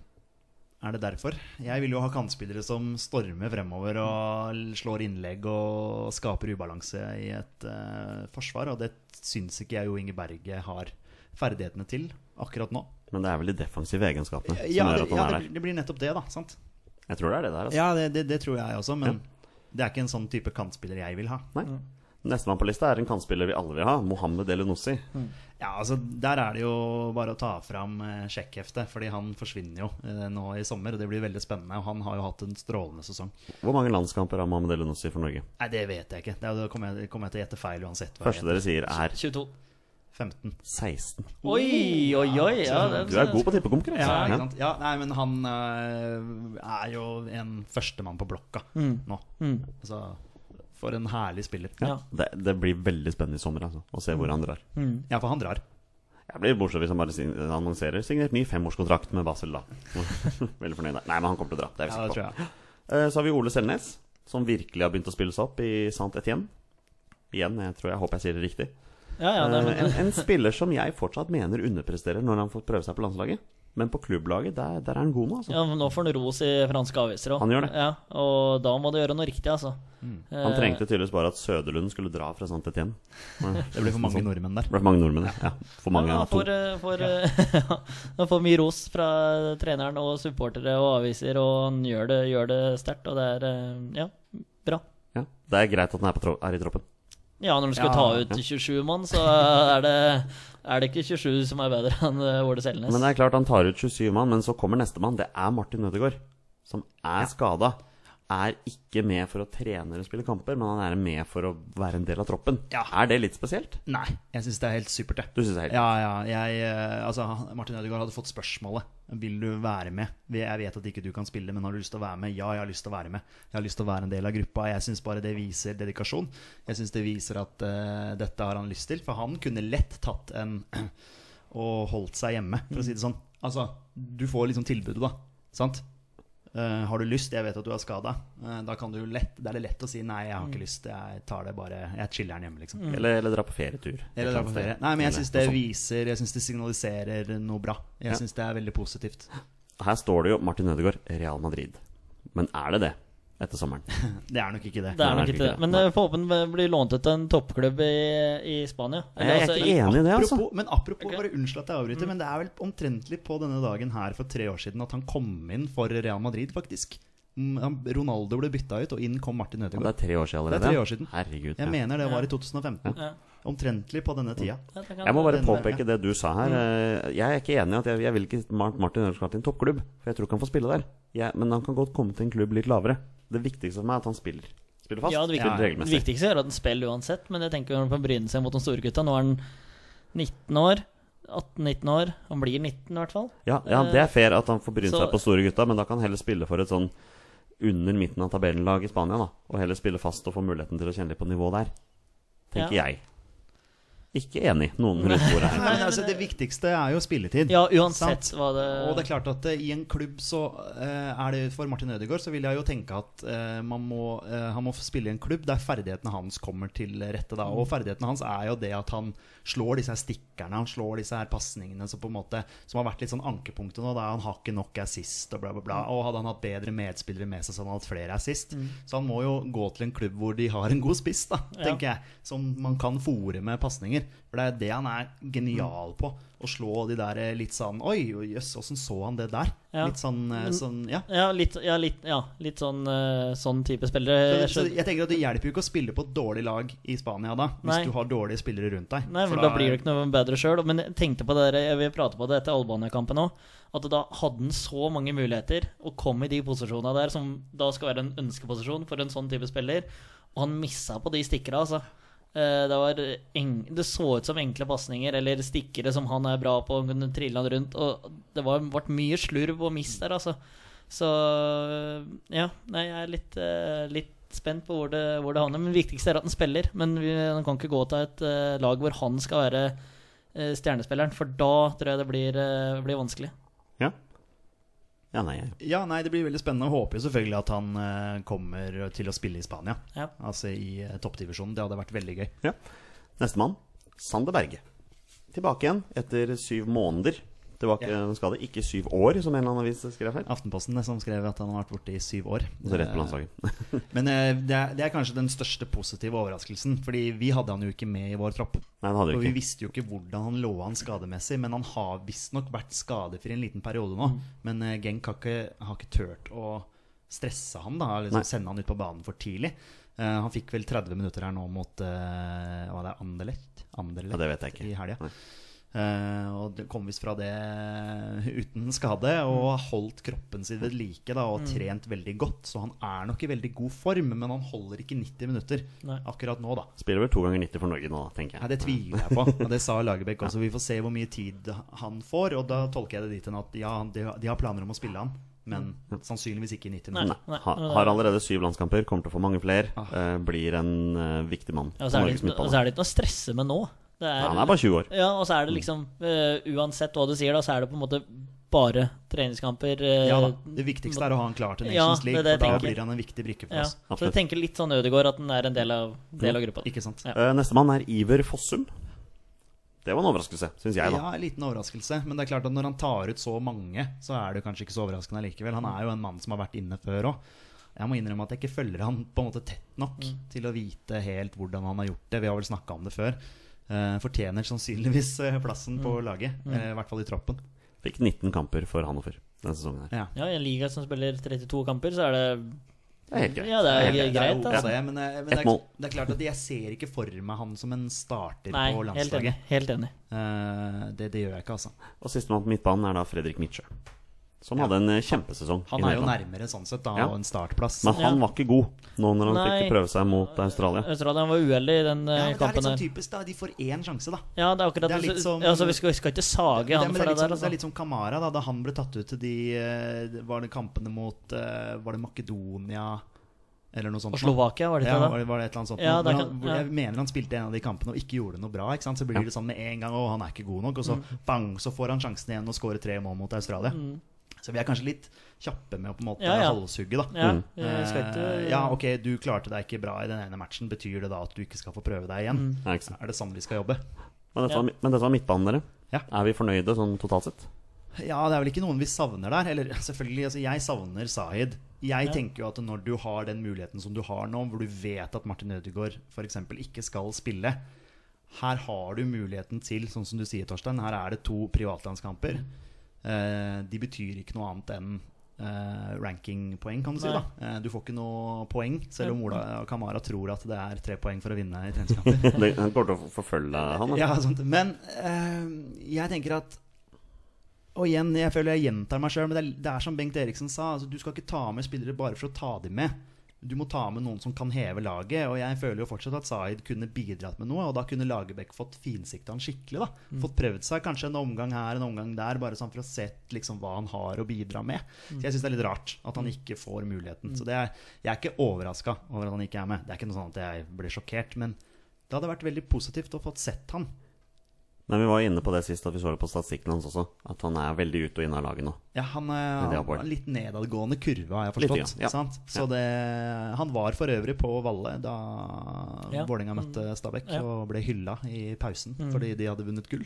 S3: er det derfor? Jeg vil jo ha kantspillere som stormer fremover og l- slår innlegg og skaper ubalanse i et eh, forsvar, og det syns ikke jeg Jo Inge Berge har ferdighetene til akkurat nå.
S2: Men det er vel de defensive egenskapene som
S3: Ja,
S2: gjør
S3: det,
S2: at han
S3: ja,
S2: er
S3: det,
S2: der.
S3: blir- det blir nettopp det, da. sant?
S2: Jeg tror det er det der, altså.
S3: Ja, det, det, det tror jeg også, men det er ikke en sånn type kantspiller jeg vil ha.
S2: Nei. Nestemann på lista er en kantspiller vi alle vil ha, Mohammed Elenossi.
S3: Ja, altså, Der er det jo bare å ta fram eh, sjekkheftet, fordi han forsvinner jo eh, nå i sommer. og Det blir veldig spennende, og han har jo hatt en strålende sesong.
S2: Hvor mange landskamper har Mohammed Elenossi for Norge?
S3: Nei, det vet jeg ikke. Det, er- da kommer jeg, kommer jeg til å gjette feil uansett. hva jeg
S2: Første dere sier, er
S4: 22.
S3: gjetter. 15.
S2: 16.
S4: Oi, oi, oi! Ja, det,
S2: Du er god på tippekonkurranse.
S3: Ja, ikke
S2: Ja.
S3: sant? ja, nei, men han eh, er jo en førstemann på blokka nå. Altså, for en herlig spiller.
S4: Ja.
S2: Det, det blir veldig spennende i sommer altså, å se hvor han drar.
S3: Ja, for han drar.
S2: Jeg blir bortsett hvis han bare sin- annonserer signert ny femårskontrakt med Basel, da. <laughs> Veldig fornøyd der. Nei, men han kommer til å dra. Det er vi
S3: Ja, det
S2: sikre på.
S3: tror jeg.
S2: Eh, Så har vi Ole Selnes, som virkelig har begynt å spille seg opp i Saint Etienne. Igjen, jeg tror jeg håper jeg sier det riktig.
S4: ja, ja, det,
S2: Eh, en,
S4: <laughs>
S2: en spiller som jeg fortsatt mener underpresterer når han får prøve seg på landslaget. Men på klubblaget, der, der er han god nå, altså.
S4: ja, men nå får han ros i franske aviser òg.
S2: Han gjør det.
S4: Ja, og da må du gjøre noe riktig, altså.
S3: Mm.
S2: Han trengte tydeligvis bare at Søderlund skulle dra fra Saint Etienne.
S3: Det blir for mange nordmenn der.
S2: Det ble for mange nordmenn, ja. For mange
S4: ja,
S2: av
S4: han
S2: to.
S4: får, eh, får, eh, <laughs> ja, han får mye ros fra treneren og supportere og aviser, og han gjør det, gjør det sterkt, og det er eh, ja, bra.
S2: Ja. Det er greit at han er, på tro er i troppen.
S4: Ja, når du skal
S3: Ja,
S4: ta ut 27 mann, så er det, er det ikke 27 som er bedre enn eh, Ole Selnes.
S2: Men det er klart han tar ut 27 mann, men så kommer nestemann. Det er Martin Ødegaard, som er skada. Er ikke med for å trene eller spille kamper, men han er med for å være en del av troppen.
S3: Ja.
S2: Er det litt spesielt?
S3: Nei, jeg syns det er helt supert, det.
S2: Du synes det er helt
S3: Ja, ja. Jeg, eh, altså, han- Martin Ødegaard hadde fått spørsmålet Vil du være med. Vi- Jeg vet at ikke du kan spille, men har du lyst til å være med? Ja, jeg har lyst til å være med. Jeg har lyst til å være en del av gruppa. Jeg syns bare det viser dedikasjon. Jeg syns det viser at eh, dette har han lyst til. For han kunne lett tatt en <clears throat> og holdt seg hjemme, for å si det sånn. Altså, du får liksom tilbudet, da. Sant? Eh, har du lyst? Jeg vet at du er skada. da kan du jo lett, da er det lett å si nei, jeg har ikke lyst. Jeg tar det bare Jeg chiller'n hjemme, liksom.
S2: Eller, eller dra på ferietur.
S3: Eller dra på ferie. Nei, men jeg
S2: Eller
S3: syns det
S2: noe sånt.
S3: viser Jeg synes det signaliserer noe bra. Jeg
S2: Ja.
S3: synes syns det er veldig positivt.
S2: Her står det jo Martin Ødegaard, Real Madrid. Men er det det? etter
S3: <laughs>
S2: sommeren.
S3: Det er nok ikke det.
S4: Det er nok
S2: Nei, det er
S4: ikke det.
S2: ikke det.
S4: Men
S2: Nei.
S4: eh, får håpe den blir lånt ut til en toppklubb i, i Spania.
S2: Jeg er
S4: altså,
S2: ikke enig i det, altså.
S3: Apropos, men apropos,
S4: Ok.
S3: bare unnskyld at jeg avbryter, men det er vel omtrentlig på denne dagen her for tre år siden at han kom inn for Real Madrid, faktisk. Mm, han- Ronaldo ble bytta ut, og inn kom Martin
S2: Og det
S3: Ødegaard.
S2: er tre år siden
S3: Det er
S2: allerede.
S3: tre år siden.
S2: Herregud.
S3: Jeg
S2: ja.
S3: mener det var i
S4: Ja.
S3: 2015.
S4: Ja.
S3: Omtrentlig på denne tida.
S4: Ja, det kan-
S2: Jeg må bare
S3: Den der,
S2: påpeke det du sa her.
S4: Mm.
S2: Eh, Jeg er ikke enig i at jeg, jeg vil ikke Mark Martin Ødegaard skal til en toppklubb. For jeg tror ikke han får spille der. Jeg, men han kan godt komme til en klubb litt lavere. Det viktigste for meg er at han spiller. Spiller fast.
S4: Ja, det
S2: spiller
S4: viktigste, det
S2: regelmessig.
S4: viktigste er at han spiller uansett, men jeg tenker han får bryne seg mot de store gutta. Nå er han 19 år. 18-19 år. Han blir 19 i hvert fall.
S2: Ja, ja, det er fair at han får brynt
S4: Eh, Så-
S2: seg på store gutta, men da kan han heller spille for et sånn under midten av tabellenlag i Spania, da. Og heller spille fast og få muligheten til å kjenne litt på nivået der. Tenker
S4: Ja.
S2: jeg. Ikke enig, noen rundt bordet her.
S3: Nei, men altså, det viktigste er jo spilletid.
S4: Ja, uansett
S3: Sant.
S4: hva det
S3: Og det er klart at eh, i en klubb så eh, er det For Martin Ødegaard så vil jeg jo tenke at eh, man må, eh, han må få spille i en klubb der ferdighetene hans kommer til rette. da Og ferdighetene hans er jo det at han slår disse her stikkerne, han slår disse her pasningene som på en måte Som har vært litt sånn ankepunktet nå. Da han har ikke nok assist og bla, bla, bla. Og hadde han hatt bedre medspillere med seg, så hadde han hatt flere assist. Så han må jo gå til en klubb hvor de har en god spiss, da,
S4: Ja.
S3: tenker jeg. Som man kan fòre med pasninger. For det er det han er genial på. Å slå de der eh, litt sånn Oi, oi, jøss, åssen så han det der?
S4: Ja. Mm.
S3: Litt sånn, eh, sånn Ja.
S4: ja, litt, ja, litt, ja, litt sånn, eh, sånn type
S3: Så,
S4: spillere. Jeg
S3: så
S4: skjønner-
S3: jeg tenker at Det hjelper jo ikke å spille på et dårlig lag i Spania da, hvis
S4: Nei.
S3: du har dårlige spillere rundt deg.
S4: Nei,
S3: For
S4: for da blir det ikke noe bedre sjøl. Men jeg tenkte på det der, jeg vil prate på det etter Albania-kampen òg. At da hadde han så mange muligheter og kom i de posisjonene der som da skal være en ønskeposisjon for en sånn type spiller. Og han missa på de stikkerne, altså. Eh, Det, var eng det så ut som enkle pasninger eller stikkere som han er bra på. Han kunne trille han rundt. Og det var, ble mye slurv og mist der, altså. Så ja, nei, jeg er litt, eh, litt spent på hvor det, hvor det havner. Men det viktigste er at han spiller. Men vi, han kan ikke gå til et eh, lag hvor han skal være eh, stjernespilleren, for da tror jeg det blir, eh, blir vanskelig.
S2: Ja. ja, nei, jeg
S3: Ja, nei, det blir veldig spennende. og Håper jo selvfølgelig at han eh, kommer til å spille i Spania.
S4: Ja.
S3: Altså i eh, toppdivisjonen. Det hadde vært veldig gøy.
S2: Ja. Nestemann, Sander Berge. Tilbake igjen etter syv måneder. Tilbake
S3: Ja.
S2: skal det ikke syv år, som en eller annen avis skrev her.
S3: Aftenposten som skrev at han har vært borte i syv år.
S2: Og så rett
S4: Eh,
S2: på landslaget.
S3: Men eh, det er, det er kanskje den største positive overraskelsen. Fordi vi hadde han jo ikke med i vår tropp.
S2: Nei, det hadde
S3: Og
S2: vi
S3: vi
S2: ikke.
S3: visste jo ikke hvordan han lå an skademessig, men han har visstnok vært skadefri en liten periode
S2: Mm.
S3: nå. Men eh, Genk har ikke, har ikke turt å stresse han, da.
S2: Nei.
S3: Liksom sende han ut på banen for tidlig. Eh, han fikk vel 30 minutter her nå mot eh, hva det er, Anderlecht? Anderlecht
S2: Ja, det vet jeg ikke.
S3: I helga.
S2: Nei.
S3: Eh, og det kom visst fra det <laughs> uten skade,
S2: Mm.
S3: og har holdt kroppen sin ved like da, og trent veldig godt. Så han er nok i veldig god form, men han holder ikke 90 minutter
S4: Nei.
S3: akkurat nå, da.
S2: Spiller vel to ganger 90 for Norge nå, tenker
S3: Nei,
S2: jeg.
S3: det tviler jeg på. Og det sa Lagerbäck også. Vi får se hvor mye tid han får. Og da tolker jeg det dit hen at ja, han- de de har planer om å spille han, men sannsynligvis ikke i 90
S4: Nei. Ah.
S3: minutter.
S2: Ha, har allerede syv landskamper, kommer til å få mange flere. eh, blir en eh, viktig mann
S4: Ja,
S2: på
S4: så er det,
S2: Norges
S4: ikke- og så
S2: midtbane.
S4: er det ikke noe å stresse med nå. Det
S2: Ja, han er bare 20 år.
S4: Ja, og så er det liksom eh, Uansett hva du sier, da, så er det på en måte bare treningskamper. eh,
S3: Ja da. Det viktigste er å ha han klar til
S4: Ja,
S3: Nations
S4: det er
S3: League,
S4: det jeg
S3: for da
S4: tenker.
S3: blir han en viktig brikke for
S4: ja.
S3: oss.
S4: Så jeg tenker litt sånn Ødegaard, at han er en del av, del av gruppa.
S3: Ikke sant?
S4: Ja.
S2: Eh, Nestemann er Iver Fossum. Det var en overraskelse, syns jeg, da.
S3: Ja, en liten overraskelse. Men det er klart at når han tar ut så mange, så er det jo kanskje ikke så overraskende likevel. Han er jo en mann som har vært inne før òg. Jeg må innrømme at jeg ikke følger han på en måte tett nok
S2: Mm.
S3: til å vite helt hvordan han har gjort det. Vi har vel snakka om det før. Eh, fortjener sannsynligvis eh, plassen på
S2: Mm.
S3: laget. eh, I hvert fall i troppen.
S2: Fikk 19 kamper for Hannover denne sesongen her.
S3: Ja.
S4: Ja, I en liga som spiller 32 kamper, så er det
S2: Det er helt greit.
S4: Ja, det er,
S2: Det er helt
S4: greit.
S3: Det er jo
S4: altså.
S3: det, men, eh, men det,
S2: Ett
S3: er,
S2: mål.
S3: det er klart at jeg ser ikke for meg han som en starter
S4: Nei,
S3: på
S4: helt enig.
S3: landslaget.
S4: Helt enig.
S3: Eh, det, det gjør jeg ikke, altså.
S2: Og sistemann på midtbanen er da Fredrik Mitsjø. Som hadde en eh, kjempesesong.
S3: Han
S2: i
S3: er jo
S2: Nederland.
S3: nærmere sånn sett, da,
S2: Ja.
S3: og en startplass.
S2: Men han
S4: Ja.
S2: var ikke god nå når han
S4: Nei.
S2: fikk prøve seg mot Australia.
S4: Australia var uheldig i den eh,
S3: ja, men det er
S4: kampen
S3: litt
S4: der.
S3: sånn typisk, da. De får én sjanse, da.
S4: Ja, det er akkurat
S3: Det er litt
S4: så-
S3: som-
S4: ja, så vi skal, vi skal ikke sage
S3: Det,
S4: han
S3: men
S4: for
S3: det, er litt
S4: det,
S3: som,
S4: der.
S3: det er
S4: Altså.
S3: litt som Kamara, da, da han ble tatt ut til de eh, Var det kampene mot eh, Var det Makedonia eller noe sånt?
S4: Og Slovakia, var det
S3: Ja, var
S4: ikke det?
S3: det, var det et eller annet sånt?
S4: Ja,
S3: nå?
S4: det
S3: Hvor
S4: kan-
S3: han, hvor
S4: ja.
S3: Jeg mener han spilte en av de kampene og ikke gjorde noe bra. Ikke sant? Så blir det sånn med en gang Å, han er ikke god nok. Og så
S4: Mm.
S3: bang, så får han sjansen igjen og skårer tre mål mot Australia. Så vi er kanskje litt kjappe med å på en måte
S4: Ja, ja.
S3: holde oss hugget, da.
S4: Ja, vi skal ikke
S3: Mm. Eh, ja, ok, du klarte deg ikke bra i den ene matchen. Betyr det da at du ikke skal få prøve deg igjen?
S4: Mm.
S2: Nei, ikke sant.
S3: Er det sånn vi skal jobbe?
S2: Men dette,
S4: Ja.
S2: var, men dette var midtbanen, dere.
S3: Ja.
S2: Er vi fornøyde sånn totalt sett? <laughs>
S3: Ja, det er vel ikke noen vi savner der. Eller selvfølgelig, altså, jeg savner Sahid. Jeg tenker jo at når du har den muligheten som du har nå, hvor du vet at Martin Ødegaard f.eks. ikke skal spille Her har du muligheten til, sånn som du sier, Torstein, her er det to privatlandskamper. Eh, de betyr ikke noe annet enn eh, rankingpoeng, kan du si.
S4: Nei.
S3: da eh, Du får ikke noe poeng, selv om Ola og Kamara tror at det er tre poeng for å vinne i treningskamper.
S2: Det- Han kommer til å forfølge han. da.
S3: Ja, sant. Men eh, jeg tenker at Og igjen, jeg føler jeg gjentar meg sjøl, men det er, det er som Bengt Eriksen sa. Altså, du skal ikke ta med spillere bare for å ta dem med. Du må ta med noen som kan heve laget. Og jeg føler jo fortsatt at Zaid kunne bidratt med noe. Og da kunne Lagerbäck fått finsikta han skikkelig. da Fått prøvd seg kanskje en omgang her en omgang der, bare sånn for å se liksom, hva han har å bidra med. Så jeg syns det er litt rart at han ikke får muligheten. Så det er, jeg er ikke overraska over at han ikke er med. Det er ikke noe sånn at jeg ble sjokkert. Men det hadde vært veldig positivt å fått sett han.
S2: Men vi var jo inne på det sist, at vi så det på statistikken hans også. At han er veldig ute og inne av laget nå.
S3: Ja, han
S2: det
S3: eh,
S2: er
S3: har
S2: Bård.
S3: en litt nedadgående kurve, har jeg
S2: Litt,
S3: forstått.
S2: ja. Ja.
S3: Sant? Så det, han var for øvrig på Valle da
S4: Ja. Mm.
S3: Vålerenga møtte Stabæk
S4: Ja. Mm.
S3: og ble hylla i pausen fordi de hadde vunnet gull.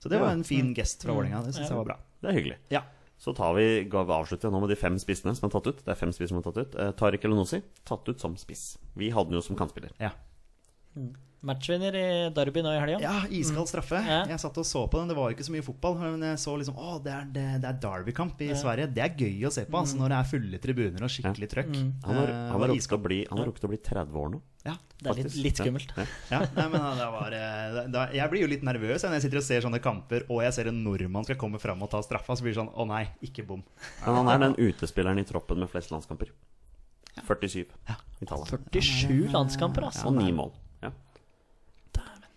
S3: Så det var
S2: Ja.
S3: en fin gest fra Vålerenga. Det syns
S4: Mm. Ja.
S3: jeg var bra.
S2: Det er hyggelig.
S3: Ja.
S2: Så tar vi, ga- avslutter jeg nå med de fem spissene som er tatt ut. Det er fem spisser som er tatt ut. Eh, Tariq Elenosi tatt ut som spiss. Vi hadde den jo som kantspiller.
S3: Ja.
S4: Matchvinner i Derby nå i helga.
S3: ja, iskald straffe.
S4: Mm. Ja.
S3: Jeg satt og så på den. Det var jo ikke så mye fotball, men jeg så liksom Å, det er, det, det er Derby-kamp i Sverige. Det er gøy å se på,
S4: Mm.
S3: altså, når det er fulle tribuner og skikkelig trøkk.
S2: Han har,
S3: Eh,
S2: han har
S3: og
S2: rukket å bli, han har rukket å bli 30 år nå.
S3: Ja.
S4: Det er litt,
S2: faktisk.
S4: litt
S2: Ja.
S4: skummelt.
S3: Ja, nei, men da var, eh, da, Jeg blir jo litt nervøs jeg, når jeg sitter og ser sånne kamper, og jeg ser en nordmann skal komme fram og ta straffa, så blir det sånn Å nei, ikke bom.
S2: Men han er den utespilleren i troppen med flest landskamper. 47 i tallet.
S4: 47 landskamper, altså.
S2: Og ni mål. Ja.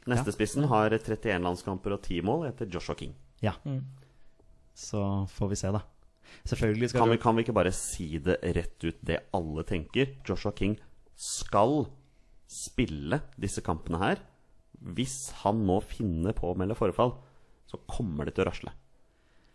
S2: Neste spissen har 31 landskamper og 10 mål etter Joshua King.
S3: Ja. Så får vi se, da. Selvfølgelig skal
S2: Kan vi,
S3: du
S2: kan vi ikke bare si det rett ut, det alle tenker? Joshua King skal spille disse kampene her. Hvis han nå finner på å melde forfall, så kommer det til å rasle.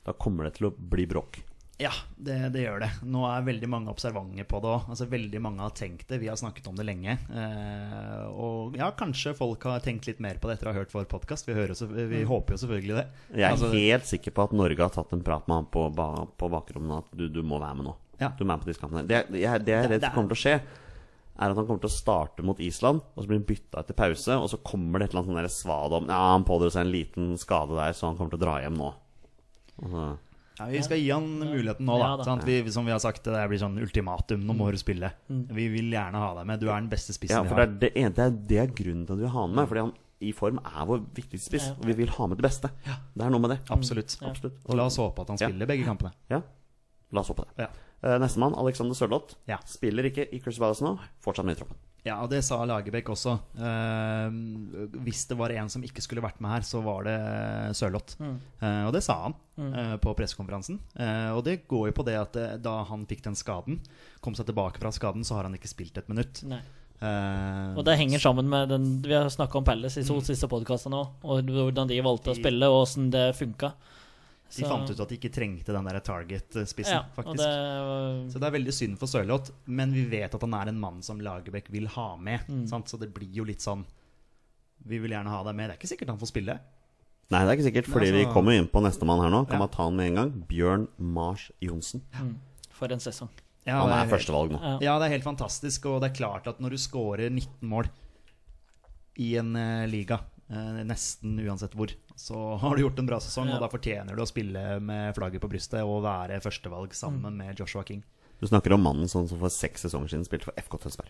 S2: Da kommer det til å bli bråk.
S3: Ja, det, det gjør det. Nå er veldig mange observante på det òg. Altså, veldig mange har tenkt det. Vi har snakket om det lenge. Eh, og ja, kanskje folk har tenkt litt mer på det etter å ha hørt vår podkast. Vi, hører jo selvfø- vi håper jo selvfølgelig det.
S2: Jeg er
S3: Altså,
S2: helt sikker på at Norge har tatt en prat med han på, ba- på bakrommet at du, du må være med nå.
S3: Ja.
S2: Du må være med på disse kampene. Det, det, jeg- det jeg er
S3: Det-
S2: redd
S3: det er-
S2: kommer til å skje, er at han kommer til å starte mot Island, og så blir han bytta etter pause, og så kommer det et eller annet sånn der svada om Ja, han pådro seg en liten skade der, så han kommer til å dra hjem nå. Altså, Og så-
S3: Ja, vi skal gi han muligheten nå, da.
S4: Ja, da.
S3: Sant? Vi, som vi har sagt, det der blir sånn ultimatum. Nå må du spille. Vi vil gjerne ha deg med. Du er den beste
S2: Ja,
S3: spissen
S2: for
S3: vi
S2: det er,
S3: har.
S2: det, ene, det, er, det er grunnen til at vi har han med, fordi han i form er vår viktigste spiss, og vi vil ha med det beste. Det er noe med det.
S3: Absolutt.
S2: Absolutt.
S3: Og la oss håpe at han
S2: Ja.
S3: spiller begge kampene.
S2: Ja. La oss håpe det.
S3: Ja.
S2: Eh, Nestemann, Alexander Sørloth,
S3: Ja.
S2: spiller ikke i Chris Palace nå. Fortsatt med i troppen.
S3: Ja, og det sa Lagerbäck også. Eh, hvis det var en som ikke skulle vært med her, så var det Sørloth.
S4: Mm.
S3: Eh, og det sa han eh, på pressekonferansen. Eh, og det går jo på det at eh, da han fikk den skaden, kom seg tilbake fra skaden, så har han ikke spilt et minutt.
S4: Nei.
S3: Eh,
S4: Mm. Og det henger sammen med den Vi har snakka om Palace
S3: Mm.
S4: i to siste podkaster nå, og hvordan de valgte å spille, og åssen det funka.
S3: de fant ut at de ikke trengte den der target-spissen,
S4: ja,
S3: faktisk.
S4: Og det,
S3: Så det er veldig synd for Sørloth, men vi vet at han er en mann som Lagerbäck vil ha med. Sant? Så det blir jo litt sånn Vi vil gjerne ha deg med. Det er ikke sikkert han får spille.
S2: Nei, det er ikke sikkert, fordi
S3: Nei, altså-
S2: vi kommer jo inn på nestemann her nå.
S3: Ja.
S2: Kan man ta han med en gang? Bjørn Mars Johnsen.
S4: for en sesong.
S3: Ja,
S2: Han
S3: det
S2: er førstevalg nå.
S4: Ja.
S3: Ja, det er helt fantastisk, og det er klart at når du scorer 19 mål i en eh, liga, eh, nesten uansett hvor, så <laughs> har du gjort en bra sesong,
S4: Ja.
S3: og da fortjener du å spille med flagget på brystet og være førstevalg sammen med Joshua King.
S2: Du snakker om mannen som som for seks sesonger siden spilte for FK Tønsberg.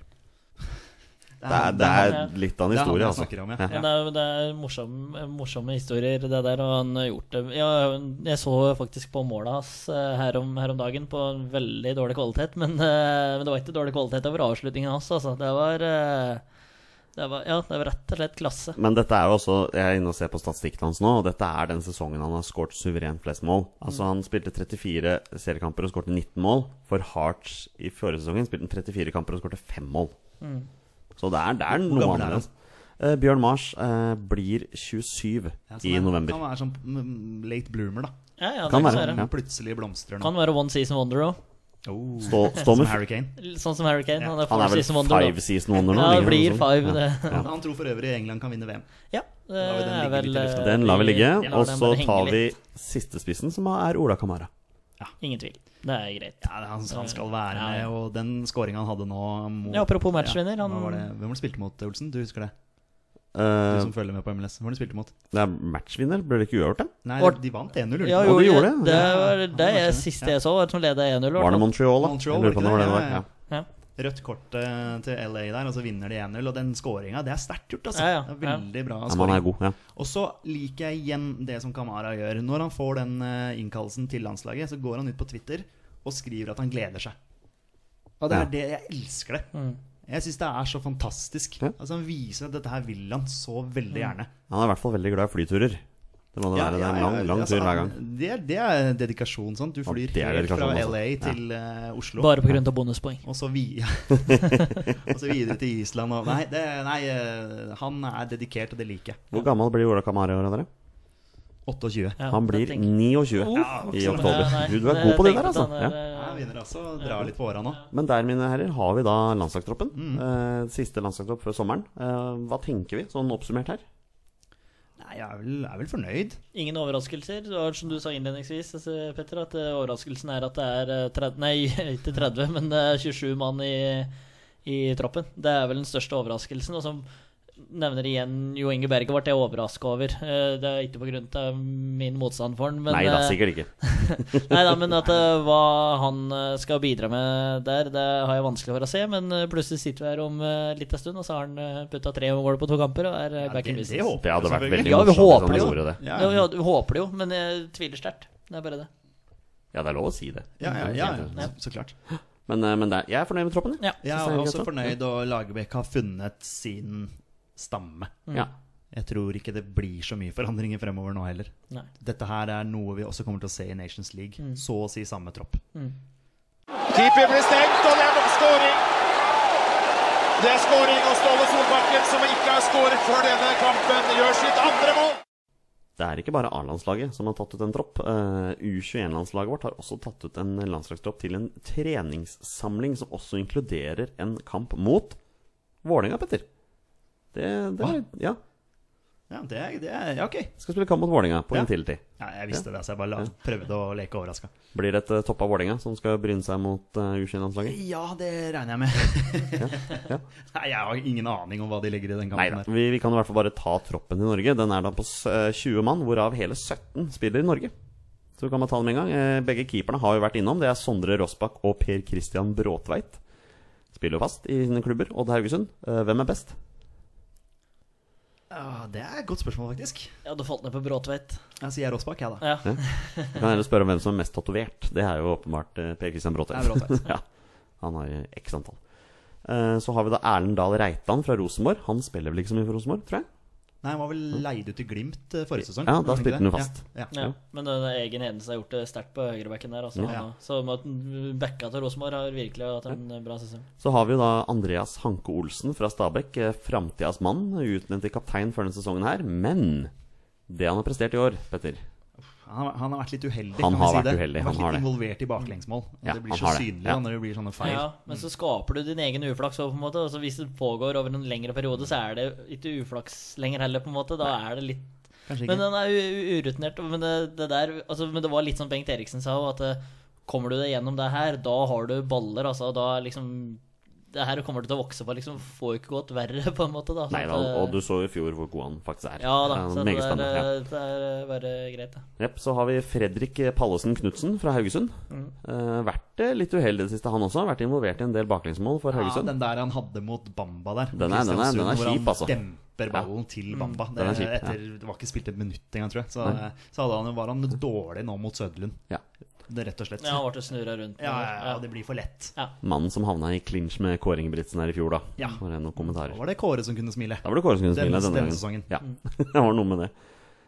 S3: Det
S2: Det er, det er litt av en
S3: det er han
S2: historie,
S3: jeg
S2: altså.
S3: snakker om, ja.
S2: Ja.
S4: Men det er, det er morsom, morsomme historier, det der. Og han har gjort det ja, Jeg så faktisk på måla hans eh, her om, her om dagen, på en veldig dårlig kvalitet. Men, eh, men det var ikke dårlig kvalitet over avslutningen hans, altså. Det var, eh, det var Ja, det var rett og slett klasse.
S2: Men dette er jo også Jeg er inne og ser på statistikken hans nå, og dette er den sesongen han har skåret suverent flest mål.
S3: Mm.
S2: Altså Han spilte 34 seriekamper og skåret 19 mål. For Hearts i forrige sesongen spilte han 34 kamper og skåret 5 mål. Så det er, det er noe
S3: Mm. gammel er han?
S2: annerledes. Eh, Bjørn Mars eh, blir 27
S3: Ja, så
S2: i
S3: han er-
S2: november.
S3: Han er sånn mm, late bloomer, da.
S4: Ja, ja, det
S2: Kan
S4: kan
S2: være,
S3: sånn.
S4: være.
S2: ja.
S3: Plutselig blomstrer nå.
S4: Kan være one season wonder òg.
S3: Oh.
S2: Stå, stå
S3: Som
S2: med
S3: Harry Kane.
S4: Sånn som Harry Kane.
S3: Ja.
S4: Han er,
S2: Han
S4: four
S2: er vel
S4: season wonder, da.
S2: five season wonder nå?
S4: Ja, det
S2: ligger
S4: blir
S2: noe sånt.
S4: five.
S2: Ja.
S4: Det.
S3: Han tror for øvrig England kan vinne VM.
S4: Ja, Det
S3: lar vi den
S4: er
S3: ligge litt i
S4: vel eh,
S3: lufta.
S2: Den lar vi ligge.
S4: vi lar
S2: Og
S4: den
S2: så
S4: bare henge
S2: tar vi
S4: litt.
S2: sistespissen, som er Ola Kamara.
S4: Ingen tvil. Det er greit.
S3: Ja, det er han, han skal være med, og den scoringen han hadde nå mot
S4: Ja, apropos matchvinner,
S3: Ja,
S4: han-
S3: hva var det- Hvem var det spilte mot, Olsen? Du husker det? Du
S2: Eh,
S3: som følger med på MLS. Hvem var det spilte mot?
S2: det er matchvinner. Ble det ikke uavgjort, det?
S3: Nei,
S4: Var-
S3: de vant 1-0. gjorde de
S4: Ja,
S3: ikke?
S2: jo, de gjorde det.
S4: det. var
S3: Ja, han
S4: det
S3: var
S4: jeg,
S3: ikke-
S4: siste
S3: ja.
S4: jeg så, var at han leda 1-0. i hvert
S2: Var det
S4: fall.
S2: Montreal, da?
S3: Montreal,
S2: jeg lurer på om det
S3: var
S2: var
S3: det
S2: det
S3: ikke
S2: der.
S3: det?
S2: Ja.
S4: Ja.
S3: Rødt kort eh, til LA der, og så vinner de 1-0. Og den scoringa, det er sterkt gjort, altså.
S4: Ja, ja,
S3: Det er veldig bra
S2: Ja, men han
S3: scoring.
S2: er god. Ja.
S3: Og så liker jeg igjen det som Kamara gjør. Når han får den eh, innkallelsen til landslaget, så går han ut på Twitter og skriver at han gleder seg. Og det
S2: Ja.
S3: er det jeg elsker det.
S4: Mm.
S3: Jeg syns det er så fantastisk.
S2: Ja.
S3: Altså Han viser at dette her vil han så veldig
S4: Mm.
S3: gjerne.
S2: Han er i hvert fall veldig glad i flyturer. Det må det være. Det er en lang, lang
S3: altså,
S2: tur hver gang.
S3: han- Det, er- det er dedikasjon, sant. Du flyr
S2: det er
S3: helt fra
S2: dedikasjon, altså.
S3: LA til eh, Oslo.
S4: Bare pga. bonuspoeng.
S3: Og så, vi, <laughs> og så videre til Island og Nei, det, nei eh, han er dedikert, og det liker jeg.
S2: Hvor gammel blir Ola Kamara i år, dere?
S3: 28.
S4: Ja,
S2: Han
S4: det
S2: blir
S4: tenker jeg.
S2: 29
S4: Oh,
S2: i
S4: sånn.
S2: oktober.
S4: Nei, nei,
S2: Du, du er god på det
S4: tenkte
S2: der, altså.
S4: han,
S2: Ja.
S4: eh,
S3: Jeg begynner altså å dra litt på åra nå.
S2: Men der, mine herrer, har vi da landslagstroppen.
S3: Mm.
S2: Eh, siste landslagstropp før sommeren. Eh, hva tenker vi, sånn oppsummert her?
S3: Nei, jeg er vel, jeg er vel fornøyd.
S4: Ingen overraskelser. Det var som du sa innledningsvis, altså, Petter, at eh, overraskelsen er at det er eh, 30, nei, <laughs> ikke 30, men det er 27 mann i, i troppen. Det er vel den største overraskelsen. Og som nevner igjen Jo Inge Berge, ble jeg overraska over. Eh, Det er ikke pga. min motstand for han, men
S2: Nei da,
S4: eh,
S2: sikkert ikke.
S4: Nei da, men at eh, hva han eh, skal bidra med der, det har jeg vanskelig for å se. Men eh, plutselig sitter vi her om eh, litt en stund, og så har han putta tre mål på to kamper og er eh, back in
S3: det,
S4: business.
S3: håper
S2: Det hadde vært veldig
S4: Ja, vi
S2: morsomt hvis
S4: håper
S2: han
S4: det jo.
S2: gjorde det.
S3: Ja,
S4: Ja, ja, du håper det jo, men jeg tviler sterkt. Det er bare det.
S2: Ja, det er lov å si det.
S3: ja, ja, ja,
S2: Det er
S3: ja,
S2: fint.
S3: så klart.
S2: Men, eh, men det, er- jeg er fornøyd med troppen, jeg.
S4: Ja.
S3: Jeg
S2: Synes det
S3: er
S2: er
S3: også
S2: greit, da.
S3: fornøyd, og Lagerbäck har funnet sin stamme.
S2: Ja.
S3: Jeg tror ikke det blir så mye forandringer fremover nå heller.
S4: Nei.
S3: Dette her er noe vi også kommer til å se i Nations League. Så å si samme tropp.
S1: Keeper blir stengt, og det er skåring. Det er skåring, og Ståle Solbakken, som ikke har skåret før denne kampen, gjør sitt andre mål.
S2: Det er ikke bare A-landslaget som har tatt ut en tropp. Eh, U21-landslaget vårt har også tatt ut en landslagstropp til en treningssamling som også inkluderer en kamp mot Vålerenga, Petter. Det, det er, ja.
S3: Ja, det er, det er ja, ok.
S2: Skal spille kamp mot Vålerenga på
S3: Ja.
S2: Intility.
S3: Ja, jeg visste det, så jeg bare la, prøvde å leke overraska.
S2: Blir det et eh, toppa Vålerenga som skal bryne seg mot eh, U21-landslaget?
S3: Ja, det regner jeg med. <laughs> Nei, jeg har ingen aning om hva de legger i den
S2: Nei da.
S3: kampen. der.
S2: Vi, vi kan i hvert fall bare ta troppen i Norge. Den er da på s- eh, 20 mann, hvorav hele 17 spiller i Norge. Så kan man ta dem en gang. Eh, Begge keeperne har jo vært innom. Det er Sondre Rossbakk og Per Christian Bråtveit. Spiller jo fast i sine klubber. Odd Haugesund, eh, hvem er best?
S3: Ja, det er et godt spørsmål, faktisk.
S4: Jeg hadde falt ned på Bråtveit.
S3: Jeg sier Rossbakk, jeg, da.
S4: Ja.
S2: Vi kan heller spørre om hvem som er mest tatovert. Det er jo åpenbart eh, Per Christian Bråtveit.
S3: Det er Bråtveit.
S2: <laughs> ja. Han har eh, x antall. Eh, Så har vi da Erlend Dahl Reitan fra Rosenborg. Han spiller vel ikke så mye for Rosenborg, tror jeg?
S3: Nei, han var vel leid ut til Glimt eh, forrige sesong.
S2: Ja, da
S3: var ikke
S2: spilte han jo
S3: det?
S2: fast.
S3: Ja, ja.
S4: Ja. Men den egen eneste har gjort det sterkt på høyrebacken der. Altså,
S2: Ja.
S4: Han har- Så med at backa til Rosenborg har virkelig hatt en eh, bra sesong.
S2: Så har vi jo da Andreas Hanke Olsen fra Stabæk, eh, framtidas mann, utnevnt til kaptein før denne sesongen her. Men det han har prestert i år, Petter
S3: Han, har- han har vært litt uheldig,
S2: Han
S3: kan vi
S2: har
S3: si
S2: vært
S3: det.
S2: uheldig,
S3: Han har
S2: han har
S3: vært
S2: det.
S3: litt involvert i baklengsmål.
S2: Ja,
S3: det
S2: han
S3: blir
S2: har
S3: så
S2: det.
S3: synlig
S2: Ja.
S3: da, når det blir sånne feil.
S4: Ja, men så skaper du din egen uflaks òg, på en måte. Og så hvis det pågår over en lengre periode, så er det ikke uflaks lenger heller, på en måte. Da er det litt
S3: Kanskje ikke.
S4: Men uh, han er u- u- urutinert. Men det, det der altså, Men det var litt som Bengt Eriksen sa òg, at eh, kommer du deg gjennom det her, da har du baller, altså. Da er liksom Det her kommer du til å vokse på, liksom. Får jo ikke gått verre, <laughs> på en måte, da.
S2: Nei
S4: Så
S2: da,
S4: at, eh,
S2: og du så i fjor hvor god han faktisk er.
S4: Ja da,
S2: Han er
S4: så det
S2: meget
S4: er,
S2: spennende, ja.
S4: eh, det er eh, bare greit, det.
S2: Jepp, så har vi Fredrik eh, Pallesen Knutsen fra Haugesund.
S4: Mm.
S2: Eh, vært eh, litt uheldig i det siste, han også. Vært involvert i en del baklengsmål for
S3: Ja,
S2: Haugesund.
S3: den der han hadde mot Bamba der.
S2: Den er- den er- den er
S3: Kristiansund, hvor han
S2: kjip, altså. Mm.
S3: Demper ballen til Bamba. Det,
S2: den er kjip, ja.
S3: etter, det var ikke spilt et minutt engang, tror jeg. Så, eh, så hadde han, var han dårlig nå mot Søderlund.
S2: Ja.
S3: Det, rett og slett.
S4: Ja,
S3: Ja,
S4: han ble snurra rundt.
S3: ja,
S4: nå,
S3: ja, det blir for lett.
S2: Mannen som havna i clinch med Kåre Ingebrigtsen her i fjor, da.
S3: Ja.
S2: For noen kommentarer.
S3: Da var det Kåre som kunne smile.
S2: Da var det Kåre som kunne
S3: Denne-
S2: smile denne,
S3: denne
S2: gangen.
S3: sesongen.
S2: Ja, <laughs> det var noe med det.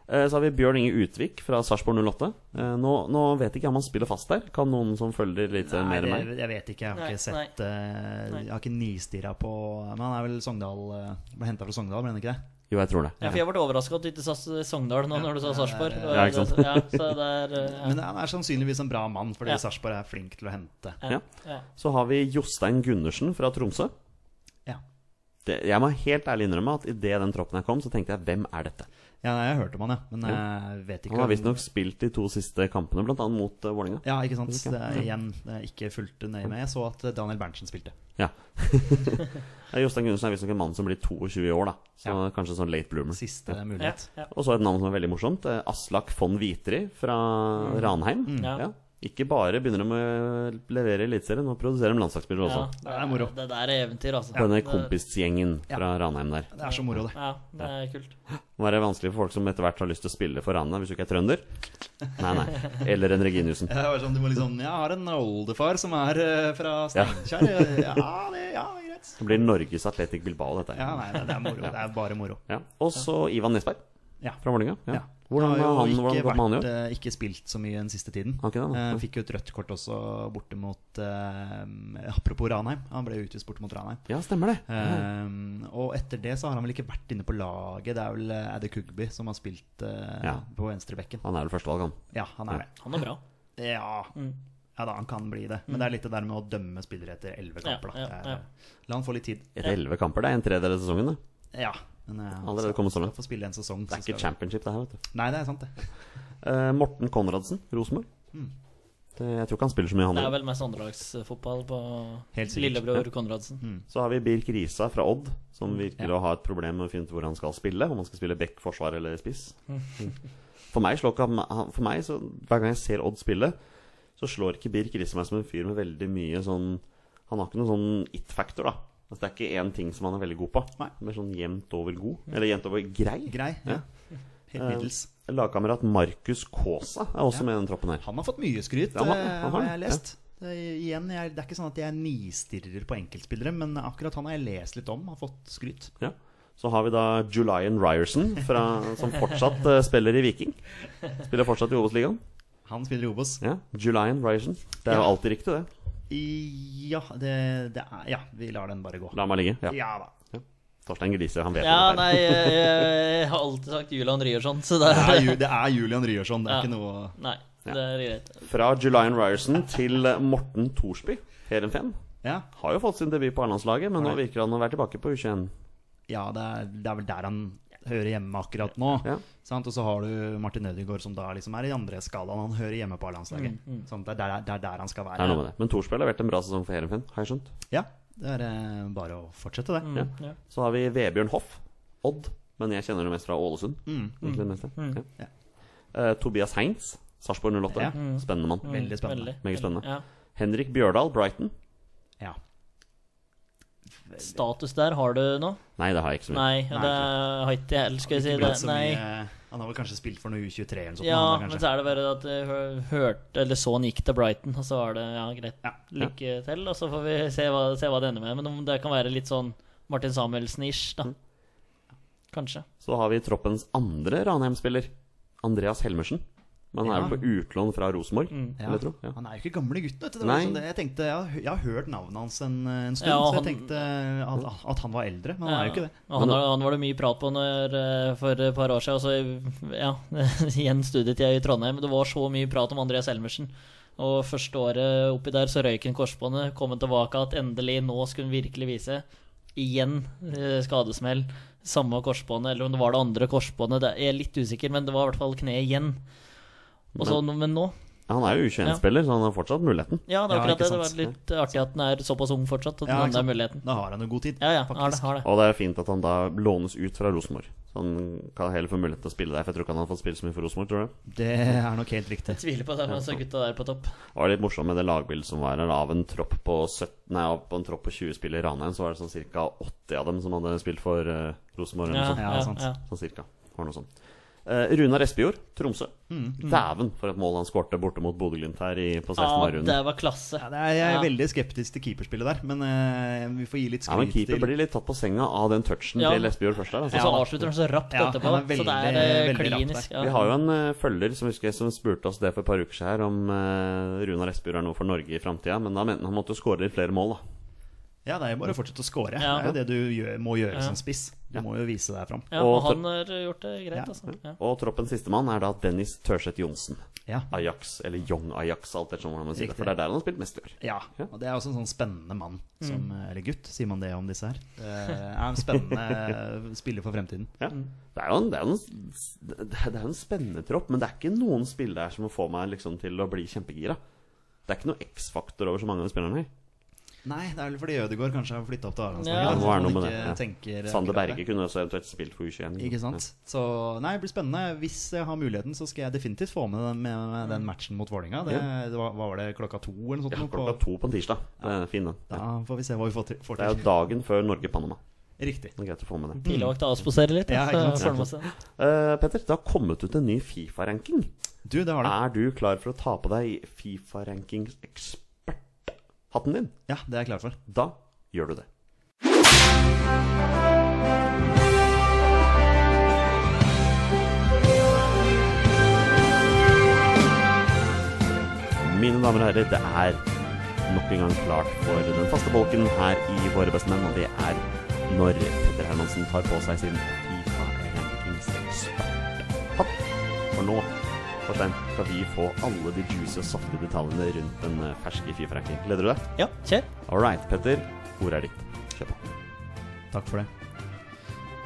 S2: Eh, Så har vi Bjørn Inge Utvik fra Sarpsborg 08. Eh, Nå, nå vet ikke jeg om han spiller fast der. Kan noen som følger litt eh,
S3: Nei,
S2: mer
S3: det,
S2: enn meg?
S3: jeg vet ikke. Jeg har
S4: Nei,
S3: ikke sett eh, Jeg har ikke nistirra på Men han er vel Sogndal eh, Ble henta fra Sogndal, ble han ikke det?
S2: Jo, jeg tror det.
S4: Ja, for jeg ble overraska at du ikke sa Sogndal nå når du sa Sarpsborg.
S2: Ja, ikke sant.
S4: Ja, så det er eh,
S3: Men han er sannsynligvis en bra mann, fordi
S4: Ja.
S3: Sarpsborg er flink til å hente.
S4: ja,
S2: Ja.
S4: ja.
S2: Så har vi Jostein Gundersen fra Tromsø.
S3: Ja.
S2: det, jeg må helt ærlig innrømme at idet den troppen her kom, så tenkte jeg 'hvem er dette'?
S3: Ja, nei, jeg hørte om han, ja. Men jeg vet ikke
S2: Han har
S3: om-
S2: visstnok spilt de to siste kampene, blant annet mot uh, Vålerenga.
S3: Ja, ikke sant. Det er, igjen, det er ikke fulgt nøye med. Jeg så at eh, Daniel Berntsen spilte.
S2: Ja. Ja, Jostein Gundersen er visstnok en mann som blir 22 i år, da. Så
S3: Ja.
S2: kanskje sånn late bloomer.
S3: Siste
S4: Ja,
S3: mulighet.
S4: ja.
S2: Og så et navn som er veldig morsomt. eh, Aslak von Vitri fra Ranheim.
S4: Mm. Ja.
S2: Ja. Ikke bare begynner de å levere i Eliteserien, nå produserer de landslagsspillere også.
S4: Ja,
S3: Det er moro.
S4: Det der er eventyr, altså.
S2: På denne
S4: Det-
S2: kompisgjengen fra Ranheim der.
S3: Det er så moro, det.
S4: Ja, det er kult.
S2: Det må være vanskelig for folk som etter hvert har lyst til å spille for Ranheim, hvis du ikke er trønder. Nei, nei. Eller en Reginiussen.
S3: Jeg, var sånn, du må liksom, jeg har en oldefar som er eh, fra Steinkjer. Ja, det ja, greit.
S2: Det blir Norges Atletic Bilbao, dette.
S3: Ja,
S2: her.
S3: nei, det, det er moro. Det er bare moro.
S2: Ja. Og så Ivan Nesberg
S3: Ja.
S2: fra Vålerenga.
S3: Ja.
S2: Ja. Hvordan
S3: Det
S2: har
S3: jo
S2: han, hvordan
S3: ikke
S2: har det gått med han i år?
S3: vært, eh, Ikke spilt så mye den siste tiden.
S2: Har ikke det, da?
S3: Eh, fikk jo et rødt kort også borte mot eh, Apropos Ranheim, han ble jo utvist borte mot Ranheim.
S2: Ja, stemmer det.
S3: Ehm, og etter det så har han vel ikke vært inne på laget. Det er vel eh, Adde Kugby som har spilt eh,
S2: Ja.
S3: på venstrebekken.
S2: Han er vel førstevalg, han.
S3: Ja, han er det.
S4: Han er bra.
S3: Ja.
S4: Mm.
S3: ja da, han kan bli det. Men det er litt det der med å dømme spillere etter elleve
S4: Ja,
S3: kamper.
S4: ja,
S3: Da. Det er- La han få litt tid.
S2: Etter elleve kamper, det er en tredjedel av sesongen. Det,
S3: Ja. Men, eh, han
S2: Allerede kommet
S3: skal
S2: sammen.
S3: få spille en sesong.
S2: det er
S3: så
S2: ikke
S3: skal-
S2: championship, det her, vet du.
S3: Nei, det er sant, det.
S2: Eh, Morten Konradsen, Rosenborg.
S3: Hmm.
S2: Det- Jeg tror ikke han spiller så mye, han
S4: Det er
S2: heller.
S4: vel mest andrelagsfotball på
S3: Helt sikkert. Mm.
S4: lillebror Konradsen.
S2: Så har vi Birk Risa fra Odd, som virker å ha et problem med å finne ut hvor han skal spille. Om han skal spille back, forsvar eller spiss.
S3: Hmm.
S2: <laughs> For meg, slår ikke han, han- for meg så, Hver gang jeg ser Odd spille, så slår ikke Birk Risa meg som en fyr med veldig mye sånn Han har ikke noen sånn it-factor, da. Altså, det er ikke én ting som han er veldig god på.
S3: Nei.
S2: Mer sånn jevnt over god. Eller jevnt over grei.
S3: Grei. Ja. Helt
S2: Eh,
S3: middels.
S2: Lagkamerat Markus Kaasa er også
S3: Ja.
S2: med i den troppen her.
S3: Han har fått mye skryt,
S2: Ja, han-
S3: eh,
S2: han
S3: har
S2: har det,
S3: jeg lest. Det, er, igjen, jeg, det er ikke sånn at jeg nistirrer på enkeltspillere, men akkurat han har jeg lest litt om. Har fått skryt.
S2: Ja. Så har vi da Julian Ryerson, fra, som fortsatt eh, spiller i Viking. Spiller fortsatt i Obos-ligaen.
S3: Han spiller i Obos.
S2: Ja. Julian Ryerson. Det er jo
S3: Ja.
S2: alltid riktig, det.
S3: I- Ja, det, det er, ja, vi lar den bare gå.
S2: La meg ligge. Ja.
S3: Ja da.
S2: Torstein gliser, han vet
S4: Ja,
S2: det.
S4: nei, jeg, jeg har alltid sagt Julian Ryerson, så det
S3: Det er,
S4: er
S3: Ju- det er Julian Ryerson, det er
S4: Ja.
S3: ikke noe
S4: Nei, det er greit.
S2: Fra Julian Ryerson til eh, Morten Thorsby, Heerenveen.
S3: Ja,
S2: Har jo fått sin debut på A-landslaget, men nå
S3: Nei.
S2: virker han å være tilbake på U21.
S3: ja det, er, det er vel der han hører hjemme akkurat nå.
S2: Ja.
S3: Sant? Og så har du Martin Ødegaard, som da liksom er i andre skalaen. Han hører hjemme på A-landslaget. Sant? Det, er der- det er der han skal
S2: Mm, Det er noe
S3: være.
S2: med det. Men Thorsby har levert en bra sesong for Heerenveen, har jeg skjønt.
S3: Ja, det er eh, bare å fortsette, det.
S4: Mm, ja.
S2: Så har vi Vebjørn Hoff, Odd, men jeg kjenner det mest fra Ålesund.
S3: Mm,
S2: Egentlig det meste. Ja. Eh, Tobias Heinz, Sarpsborg 08.
S3: Ja. Mm.
S2: Spennende mann.
S3: Veldig spennende.
S4: Veldig.
S2: Meget spennende.
S4: Ja.
S2: Henrik Bjørdal, Brighton.
S3: Ja.
S4: Status der har du nå?
S2: Nei, det har jeg ikke så mye.
S4: Nei, det har ikke jeg heller, skal jeg si.
S3: Mm. Ikke
S4: Det.
S3: så
S4: Nei.
S3: mye, han har vel kanskje spilt for noe U23 eller noe sånt.
S4: Ja,
S3: han da,
S4: men
S3: kanskje.
S4: så er det bare at jeg hø- hørte Eller så han gikk til Brighton, og så var det ja, greit.
S3: Ja.
S4: Lykke til, og så får vi se hva, se hva det ender med. Men om det kan være litt sånn Martin Samuelsen-ish,
S3: Mm.
S4: da. Kanskje.
S2: Så har vi troppens andre Ranheim-spiller, Andreas Helmersen. Men han er vel på utlån fra Rosenborg, vil jeg tro. Ja.
S3: Han er jo ikke gamle gutten, vet du. Det var
S2: Nei.
S3: liksom det. Jeg, tenkte, jeg, har, hø- jeg har hørt navnet hans en, en stund,
S4: Ja,
S3: så jeg
S4: han-
S3: tenkte at, at han var eldre, men han er jo ikke det.
S4: Ja, Han, han var det mye prat på når, eh, for et par år siden. og så, ja, <laughs> igjen studiet jeg i Trondheim. Det var så mye prat om Andreas Helmersen. Og første året oppi der så røyk han korsbåndet. Kom han tilbake at endelig, nå skulle han virkelig vise. Igjen eh, skadesmell. Samme korsbåndet, eller om det var det andre korsbåndet. Det jeg er litt usikker, men det var i hvert fall kneet igjen. Og så, men nå
S2: Han er jo U21-spiller, så han har fortsatt muligheten.
S4: Ja, det er
S3: Ja,
S4: akkurat
S3: ikke
S4: det. Det var
S3: sant.
S4: litt artig at han er såpass ung fortsatt. At
S3: Ja,
S4: han
S3: ikke
S4: har
S3: sant.
S4: muligheten.
S3: Da har han jo god tid.
S4: Ja, ja. Har det. Har det.
S2: Og det er fint at han da lånes ut fra Rosenborg. Så han kan heller få mulighet til å spille der, for jeg tror ikke han har fått spille så mye for Rosenborg, tror du?
S3: Det er nok helt riktig.
S4: Tviler på det, men så er gutta der på topp.
S2: Det var litt morsomt med det lagbildet som var her. Av en tropp på, 17, nei, av- på en tropp på 20 spillere i Ranheim, så var det sånn ca. 80 av dem som hadde spilt for eh, Rosenborg. Eller noe sånt.
S3: Ja, sant.
S2: Sånn cirka. Var det noe sånt. Eh, Runar Espejord, Tromsø. Dæven for et mål han skårte borte mot Bodø-Glimt her i, på
S4: Ja,
S2: 16.
S4: det var klasse.
S3: Ja, det er, jeg er
S4: Ja.
S3: veldig skeptisk til keeperspillet der, men eh, vi får gi litt
S2: Ja, men
S3: skryt
S2: keeper
S3: til
S2: blir litt tatt på senga av den touchen
S4: Ja.
S2: til Espejord først der.
S4: Og
S2: Altså.
S4: så avslutter han så rapt
S3: Ja,
S4: etterpå.
S3: han er
S4: så det er
S3: veldig-
S4: eh,
S3: veldig rapt
S4: klinisk.
S3: der.
S4: Ja.
S2: Vi har jo en eh, følger som husker jeg som spurte oss det for et par uker siden her, om eh, Runar Espejord er noe for Norge i framtida, men da mente han han måtte jo skåre litt flere mål, da.
S3: Ja, det er jo bare å fortsette å score.
S4: Ja.
S3: Det er jo det du gjør, må gjøre som spiss. Du må jo vise deg fram.
S4: ja,
S2: og
S4: og
S2: for-
S4: han har gjort det greit,
S3: Ja.
S4: altså. Ja.
S2: Og troppens sistemann er da Dennis Tørseth Johnsen.
S3: Ja.
S2: Ajax, eller Young Ajax, alt etter hvordan man sier det.
S3: Riktig.
S2: For det er der han har spilt mest i år.
S3: Ja, og det er også en sånn spennende mann
S2: Mm.
S3: som, eh, Eller gutt, sier man det om disse her Eh, Er en spennende eh, spiller for fremtiden
S2: Ja. Det er jo en, det er jo en, det er jo en spennende tropp, men det er ikke noen spillere her som får meg liksom til å bli kjempegira. Det er ikke noe X-faktor over så mange av de spillerne her.
S3: Nei, det er vel fordi Ødegård kanskje har flyttet opp til Arlandsdagen
S4: Ja,
S2: det må være noe med
S3: ikke
S2: det,
S3: tenker eh,
S2: Sander
S3: akkurat
S2: Berge
S3: det.
S2: kunne også eventuelt spilt for U21.
S3: Ikke sant? Så nei, det blir spennende Hvis jeg har muligheten så skal jeg definitivt få med den, med, med den matchen mot Vålinga det, det var, Hva var det, klokka to eller noe sånt?
S2: Ja,
S3: nå på-
S2: klokka to på en tirsdag. Det er fin, den.
S3: Da får vi se hva vi får til, får
S2: Det er jo
S3: til.
S2: dagen før Norge-Panama.
S3: Riktig
S2: Det er greit å få med det.
S4: Pilevakt avsposerer litt.
S3: Ja,
S4: da,
S3: ikke
S4: så
S3: sant?
S4: får han med seg.
S2: Eh, Petter, det har kommet ut en ny Fifa-ranking.
S3: Du, det har du
S2: Er du klar for å ta på deg Fifa-rankings-ekspert-hatten din?
S3: Ja, det er jeg klar for
S2: Da gjør du det. Mine damer og herrer, det er nok en gang klart for den faste bolken her i Våre beste menn, og det er når Petter Hermansen tar på seg sin FIFA-rankingseksperthatt. For nå, Torstein, skal vi få alle de juicy og saftige detaljene rundt den eh, ferske FIFA-ranking. Gleder du deg?
S4: Ja, kjør.
S2: All right, Petter. Ordet er ditt. Kjør på.
S3: Takk for det.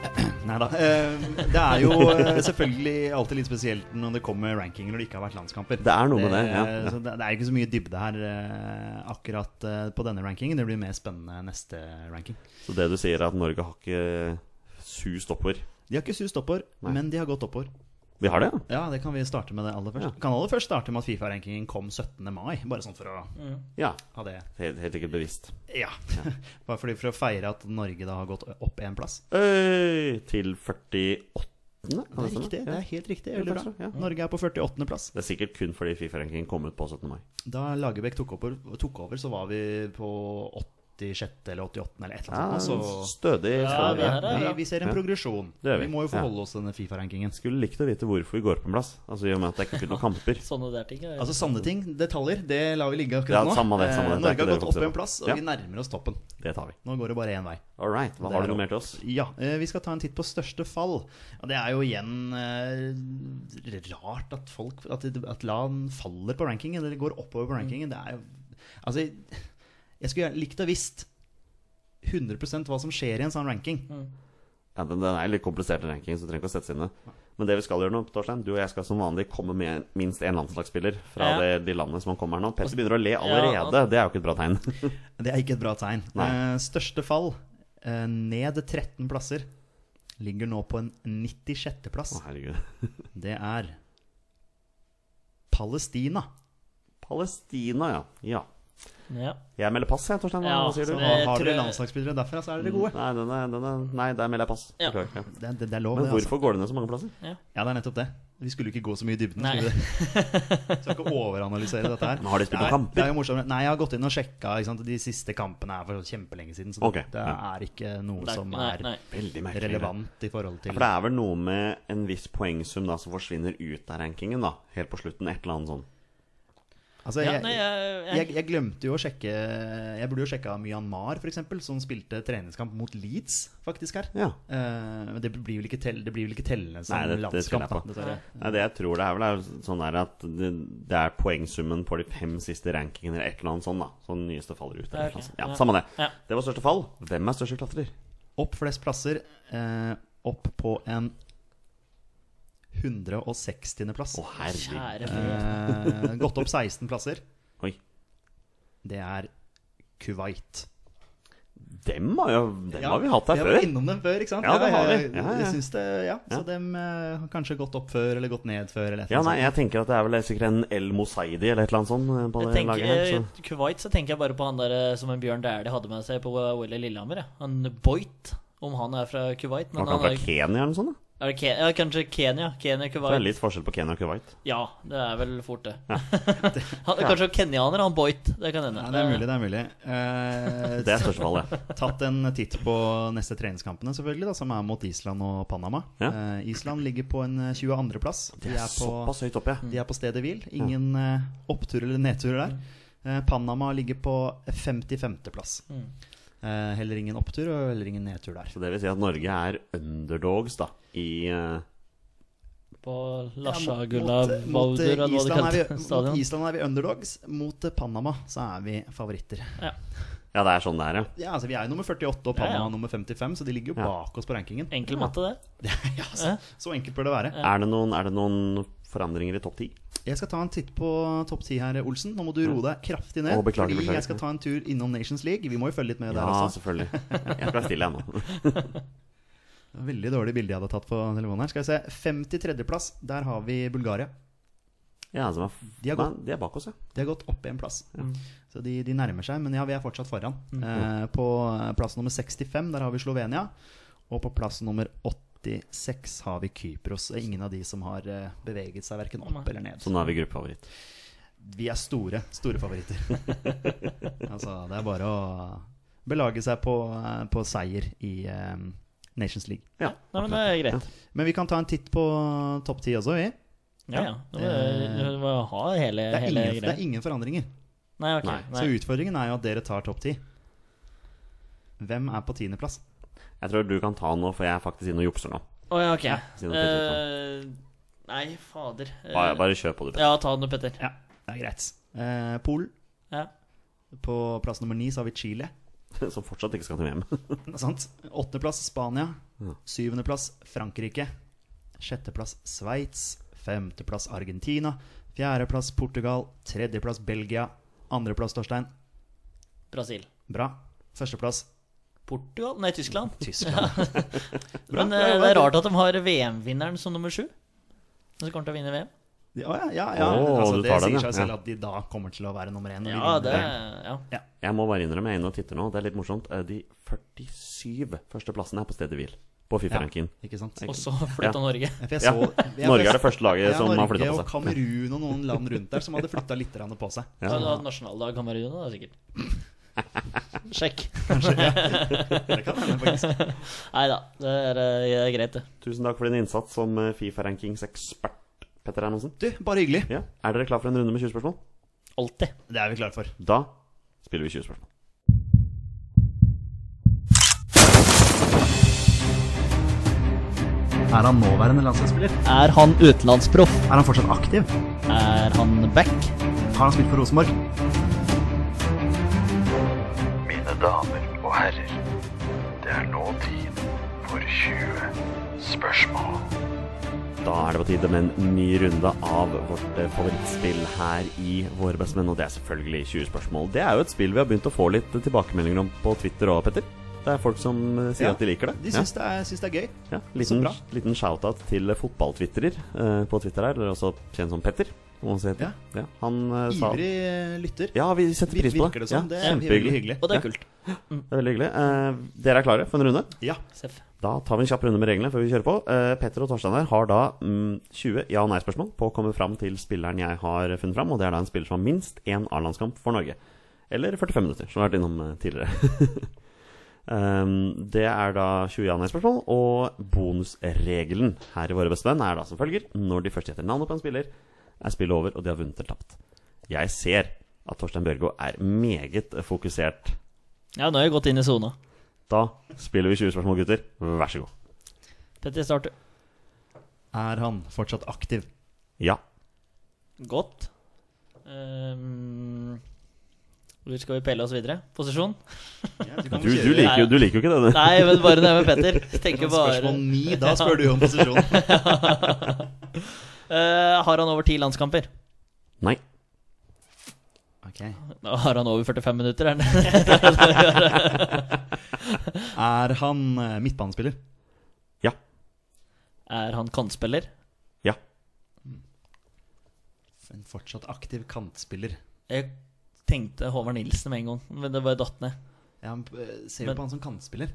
S3: <clears throat> Nei da. Det er jo eh, selvfølgelig alltid litt spesielt når det kommer rankinger når det ikke har vært landskamper.
S2: Det er noe med det, ja.
S3: eh, Så det, det er ikke så mye dybde her eh, akkurat eh, på denne rankingen. Det blir mer spennende neste ranking.
S2: Så det du sier er at Norge har ikke sust oppover.
S3: De har ikke sust oppover,
S2: Nei.
S3: men de har gått oppover.
S2: Vi har det, ja.
S3: Ja, det kan vi starte med det aller først.
S2: Ja.
S3: Kan aller først starte med at Fifa-rankingen kom 17. mai, bare sånn for å
S2: Ja,
S3: ha det
S2: Helt, helt sikkert bevisst.
S3: Ja. <laughs> Bare fordi for å feire at Norge da har gått opp én plass.
S2: Øy, Eh, til 48. Kan
S3: Det er
S2: stemme?
S3: riktig, det
S2: Ja.
S3: er helt riktig.
S2: Ja,
S3: Veldig
S2: kanskje,
S3: bra.
S2: ja.
S3: Norge er på 48. plass.
S2: Det er sikkert kun fordi Fifa-rankingen kom ut på 17. mai.
S3: Da Lagerbäck tok, opp- tok over, så var vi på 86. eller 88. eller et eller
S2: Ja,
S3: annet. sånt,
S2: stødig.
S3: så
S2: stødig.
S4: Ja, Ah, det er det.
S3: vi, vi ser en
S2: Ja.
S3: progresjon.
S2: Det gjør vi.
S3: Vi må jo
S2: Ja.
S3: forholde oss til denne Fifa-rankingen.
S2: Skulle likt å vite hvorfor vi går på en plass. Altså I og med at det ikke er noen kamper.
S4: Sånne der ting. Sånn er-
S3: Altså Sanne ting, detaljer, det lar vi ligge
S2: Ja,
S3: akkurat nå.
S2: samme det,
S3: Eh,
S2: samme det. Det
S3: Norge har
S2: er ikke det vi
S3: gått opp
S2: fokuserer
S3: en
S2: på.
S3: plass, og
S2: Ja.
S3: vi nærmer oss toppen.
S2: Det tar vi.
S3: Nå går det bare én vei.
S2: All right. Hva
S3: Det er
S2: har du
S3: opp.
S2: noe mer til oss?
S3: Ja, eh, Vi skal ta en titt på største fall. Ja, Det er jo igjen eh, rart at folk At, at LAN faller på rankingen, eller går oppover
S4: Mm.
S3: på rankingen. Det er jo Altså, jeg skulle gjerne likt å visst 100 hva som skjer i en sånn ranking.
S4: Mm.
S2: Ja, den, den er litt komplisert, den rankingen, så du trenger ikke å sette seg inn i det. Men det vi skal gjøre nå, Torstein, du og jeg skal som vanlig komme med minst én landslagsspiller fra
S4: Ja.
S2: det, de landene som han kommer her nå. Petter begynner å le allerede. Det er jo ikke et bra tegn.
S3: Det er ikke et bra tegn.
S2: Nei.
S3: Eh, største fall, eh, ned 13 plasser, ligger nå på en 96. plass.
S2: Å, herregud.
S3: Det er Palestina.
S2: Palestina, ja. ja.
S4: Ja.
S2: Jeg melder pass, jeg, Torstein. Hva
S4: Ja,
S2: sier
S4: så
S2: du?
S4: det-
S3: Og
S4: Jeg
S3: har
S4: tror
S3: dere
S4: jeg- Mm.
S3: landslagsspillere derfra, så er dere gode.
S2: Nei, den er, den er, nei, der melder jeg pass.
S4: Ja.
S2: Beklager, ja.
S3: Det, det, det er lov,
S2: Men
S3: det. Altså.
S2: hvorfor går det ned så mange plasser?
S3: Ja, det er nettopp det. Vi skulle ikke gå så mye i dybden.
S4: Nei.
S3: skulle vi det?
S2: <laughs>
S3: Skal ikke overanalysere dette her.
S2: Men har de spilt
S3: Det er-
S2: noen kamper?
S3: Det er jo morsomt. Nei, jeg har gått inn og sjekka. Ikke sant? De siste kampene er for kjempelenge siden. Så
S2: Ok,
S3: det
S2: ja.
S3: er ikke noe
S4: Nei,
S3: som
S4: nei,
S3: er
S4: nei.
S2: Veldig merkelig.
S3: relevant i forhold til
S2: For det er vel noe med en viss poengsum da som forsvinner ut av rankingen, da. Helt på slutten. Et eller annet sånn.
S3: Altså,
S4: Ja,
S3: jeg,
S4: nei, jeg,
S3: jeg, jeg glemte jo å sjekke Jeg burde jo sjekka Myanmar, f.eks., som spilte treningskamp mot Leeds, faktisk, her.
S2: Ja.
S3: Eh, Men det blir vel ikke, tell, det blir vel ikke tellende som
S2: Nei, det- det
S3: landskamp, da,
S2: tviler jeg på.
S3: dessverre.
S2: Nei, det jeg tror det er vel er sånn der at det, det er poengsummen på de fem siste rankingene eller et eller annet sånn da. Så den nyeste faller ut. Eller
S4: Ja, ok.
S2: noe sånt. Ja,
S4: Ja.
S2: Samme det.
S4: Ja.
S2: Det var største fall. Hvem er største klatrer?
S3: Opp flest plasser. eh, Opp på en 160. plass.
S2: Å, herregud.
S4: Kjære fred.
S3: Eh, gått opp 16 plasser.
S2: Oi.
S3: Det er Kuwait.
S2: Dem har, jo, dem har vi hatt her
S3: vi
S2: før.
S3: vært innom dem før, ikke sant?
S2: Ja, det har vi.
S3: jeg-
S2: Ja, ja.
S3: Jeg syns det, ja.
S2: Ja.
S3: Så dem eh, har kanskje gått opp før, eller gått ned før, eller et
S2: Ja,
S3: eller
S2: nei,
S3: annet.
S2: jeg tenker at det er vel sikkert en El Mosaidi eller et eller annet sånt eh, på
S4: Jeg
S2: det laget
S4: tenker,
S2: her. Så.
S4: I Kuwait så tenker jeg bare på han der eh, som en Bjørn Dæhlie hadde med seg på OL i Lillehammer. Ja. Han Boit, om han er fra Kuwait. Men
S2: Var ikke han
S4: han
S2: fra
S4: er,
S2: Kenya eller noe sånt? da?
S4: er det Ke ja, kanskje Kenya. Kenya,
S2: Det er
S4: Kuwait.
S2: litt forskjell på Kenya og Kuwait.
S4: Ja, det er vel fort <laughs> det. han, kanskje kenyaner, han Boit. Det kan hende.
S3: Ja, det er mulig, det er mulig. Eh,
S2: <laughs> Det er største
S4: <laughs>
S2: fall, det.
S3: <laughs> tatt en titt på neste treningskampene, selvfølgelig, da, som er mot Island og Panama.
S2: Ja.
S3: Eh, Island ligger på en eh, 22.-plass.
S2: Det er såpass høyt oppe, ja.
S3: De er på stedet hvil. Ingen eh, oppturer eller nedturer der. Eh, Panama ligger på 55.-plass. heller ingen opptur og heller ingen nedtur der.
S2: Så det vil si at Norge er underdogs da i eh,
S4: På
S3: Ja,
S4: Lasja
S3: mot-
S4: Gulla
S3: mot- mot, eh,
S4: Baldur, eller hva de
S3: Island er
S4: kalte
S3: vi- Mot
S4: stadion.
S3: Island er vi underdogs. Mot eh, Panama så er vi favoritter.
S2: Ja, det er sånn det er, ja.
S3: Ja, altså Vi er jo nummer 48 og Panama
S4: Ja, ja.
S3: nummer 55, så de ligger jo
S2: Ja.
S3: bak oss på rankingen. <laughs>
S4: Enkel matte, det.
S3: ja, så, så enkelt bør det være.
S2: Er det noen, er det noen forandringer i topp ti?
S3: Jeg skal ta en titt på topp 10 her, Olsen. Nå må du roe deg kraftig ned.
S2: Å, beklager,
S3: fordi
S2: beklager.
S3: jeg skal ta en tur innom Nations League. Vi må jo følge litt med
S2: Ja,
S3: der også. <laughs>
S2: selvfølgelig. Jeg ble stille, jeg nå.
S3: Veldig dårlig bilde jeg hadde tatt på telefonen her. Skal vi se. 53.-plass, der har vi Bulgaria.
S2: Ja, altså,
S3: De er
S2: de,
S3: gode.
S2: de er bak oss, ja.
S3: De har gått opp en plass. Så de, de nærmer seg, men ja, vi er fortsatt foran. Eh, på eh, plass nummer 65 der har vi Slovenia. Og på plass nummer 86 har vi Kypros. Og Ingen av de som har eh, beveget seg verken opp eller ned.
S2: Så nå er vi gruppefavoritt.
S3: Vi er store, store favoritter. <laughs> altså, det er bare å belage seg på, eh, på seier i eh, Nations League.
S2: Ja,
S4: Nei, men eh, det er greit.
S3: Men vi kan ta en titt på topp ti også, vi.
S4: Ja, ja. Du må- Du må ha hele,
S3: Det er,
S4: Eh, hele
S3: ingen, det er
S4: greia.
S3: ingen forandringer.
S4: Nei, ok.
S2: Nei,
S4: Nei.
S3: Så utfordringen er jo at dere tar topp ti. Hvem er på tiendeplass?
S2: Jeg tror du kan ta nå, for jeg er faktisk inne og jukser nå.
S4: Å ja, ok.
S2: si noe, Petter,
S4: Eh, nei, fader. Eh,
S2: Bare, bare kjør på, du. <laughs> Petter.
S4: Ja, ta den, Petter.
S3: Ja, det er greit. Eh, Polen.
S4: Ja.
S3: På plass nummer ni så har vi Chile.
S2: Som fortsatt ikke skal til VM. <laughs>
S3: Sant? Åttendeplass Spania.
S2: Mm.
S3: Syvendeplass Frankrike. Sjetteplass Sveits. Femteplass Argentina. Fjerdeplass Portugal. Tredjeplass Belgia. Andreplass Torstein.
S4: Brasil.
S3: Bra. Førsteplass
S4: Portugal? Nei, Tyskland.
S3: Tyskland.
S4: <laughs>
S3: Bra,
S4: Men
S3: bra
S4: eh,
S3: jobba.
S4: det er rart at de har VM-vinneren som nummer sju. Som kommer til å vinne VM.
S3: Å ja, ja. ja.
S2: Å,
S3: altså,
S2: du
S3: det
S2: tar den,
S3: sier
S2: ja.
S3: seg selv at de da kommer til å være nummer én. når de vinner
S4: Ja, det
S3: VM.
S4: ja.
S2: Jeg må bare innrømme, jeg er inne og titter nå. Det er litt morsomt. Eh, De 47 førsteplassene er på stedet hvil på FIFA-ranking.
S3: Ja, ikke sant?
S4: Og så flytta
S2: Ja.
S4: Norge.
S3: For jeg
S2: Ja.
S3: så- jeg-
S2: <laughs> Norge er det første laget
S3: Ja,
S2: som har
S3: Norge
S2: flytta
S3: og
S2: på seg.
S3: Kamerun og noen land rundt der som hadde flytta litt grann på
S2: <laughs>
S3: seg.
S4: Ja. Du har nasjonaldag Kamerun, da, sikkert. Sjekk. <laughs>
S3: Det kan hende, faktisk.
S4: Nei da, det er eh, greit, det.
S2: Tusen takk for din innsats som eh, FIFA-rankingsekspert, Petter Hermansen.
S3: Du, bare hyggelig.
S2: Ja. Er dere klar for en runde med 20 spørsmål?
S4: Alltid.
S3: Det er vi klare for.
S2: Da spiller vi 20 spørsmål.
S3: Er han nåværende landslagsspiller?
S4: Er han utenlandsproff?
S3: Er han fortsatt aktiv?
S4: Er han back?
S3: Har han spilt for Rosenborg?
S5: Mine damer og herrer, det er nå tid for 20 spørsmål.
S2: Da er det på tide med en ny runde av vårt eh, favorittspill her i Våre bestemenn, og det er selvfølgelig 20 spørsmål. Det er jo et spill vi har begynt å få litt eh, tilbakemeldinger om på Twitter òg, Petter. Det er folk som eh, sier
S3: Ja,
S2: at de liker det.
S3: De syns, det, er, syns det er gøy.
S2: ja, ja. Liten,
S3: bra.
S2: liten shout-out til eh, fotballtwitterer eh, på Twitter her, eller også kjent som Petter. Som han heter. Ja. Han eh, sa
S3: Ivrig eh, lytter.
S2: Ja, vi setter pris på det.
S3: Virker det som.
S2: Ja,
S3: Det er veldig hyggelig.
S4: Og det er kult.
S2: Det er veldig hyggelig. Eh, dere er klare for en runde?
S3: Ja.
S4: Seff.
S2: Da tar vi en kjapp runde med reglene før vi kjører på. Eh, Petter og Torstein her har da mm, 20 ja- og nei-spørsmål på å komme fram til spilleren jeg har funnet fram, og det er da en spiller som har minst én A-landskamp for Norge. Eller 45 minutter, som vi har vært innom eh, tidligere. <laughs> Ehm, det er da 20 ja- og nei-spørsmål, og bonusregelen her i Våre beste venn er da som følger Når de først gjetter navnet på en spiller, er spillet over, og de har vunnet eller tapt. Jeg ser at Torstein Børgo er meget fokusert.
S4: Ja, nå har jeg gått inn i sona.
S2: Da spiller vi 20 spørsmål, gutter. Vær så god.
S4: Petter starter.
S3: Er han fortsatt aktiv?
S2: Ja.
S4: Godt. Ehm, hvor skal vi pelle oss videre? Posisjon?
S2: Du, du, liker, jo, du liker jo ikke denne.
S4: Nei, men bare det med Petter. Jeg Tenker bare
S3: Spørsmål ni, da spør du om
S2: <laughs>
S3: posisjonen.
S4: <laughs> Eh, Har han over ti landskamper?
S2: Nei.
S3: Ok.
S4: Nå Har han over 45 minutter? Er det?
S3: Er han eh, midtbanespiller?
S2: Ja.
S4: <laughs> er han kantspiller?
S2: Ja.
S3: En fortsatt aktiv kantspiller.
S4: Jeg tenkte Håvard Nilsen med en gang, men det bare datt ned.
S3: Ja, han eh, ser jo
S4: Men-
S3: på han som kantspiller.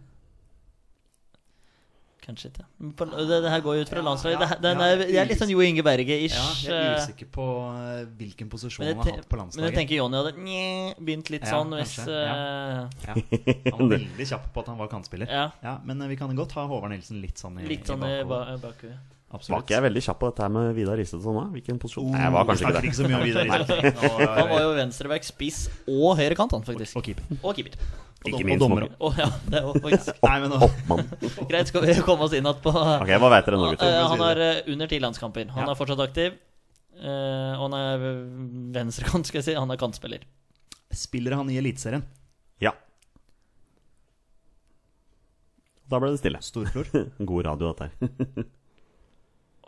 S4: Kanskje ikke. Men På, det, det her går jo ut fra landslaget.
S3: ja,
S4: Det, her- den
S3: ja,
S4: er,
S3: jeg er
S4: jeg er litt sånn Jo Inge
S3: Ja,
S4: Berge-ish.
S3: jeg er usikker på eh, hvilken posisjon han har hatt på
S4: eh, men jeg
S3: landslaget.
S4: tenker Jonny hadde nye, begynt litt
S3: Ja,
S4: sånn hvis
S3: kanskje, ja. Ja, han var veldig kjapp på at han var kantspiller.
S4: eh, ja.
S3: Ja, Men eh, vi kan godt ha Håvard Nilsen litt sånn i,
S4: Litt sånn
S3: i
S4: i
S3: bakhodet.
S4: ba- bakhuet.
S3: absolutt.
S2: Var ikke jeg veldig kjapp på dette her med Vidar Istedson da? Hvilken posisjon? Nei, jeg
S3: Vi
S2: var kanskje
S3: snakker
S2: ikke det.
S3: ikke så
S2: <laughs>
S3: mye om Vidar
S4: Han var
S3: Isaksen.
S4: jo venstreback, spiss og høyrekant, han faktisk.
S3: Og keeper.
S4: Og keeper.
S3: Og
S2: Ikke
S3: dom-
S2: minst
S3: Og dommer
S2: nok.
S3: også.
S4: Å ja, det var faktisk
S3: Nei, men eh, nå-
S2: Hoppmann.
S4: Greit, skal vi komme oss inn igjen på
S2: Ok, hva vet dere nå,
S4: Eh,
S2: gutter?
S4: Han er eh, under ti landskamper. Han
S3: Ja.
S4: er fortsatt aktiv. Eh, og han er venstrekant, skal jeg si. Han er kantspiller.
S3: Spiller han i Eliteserien?
S2: Ja. Da ble det stille. <laughs>
S3: Storflor?
S2: God radio, dette her.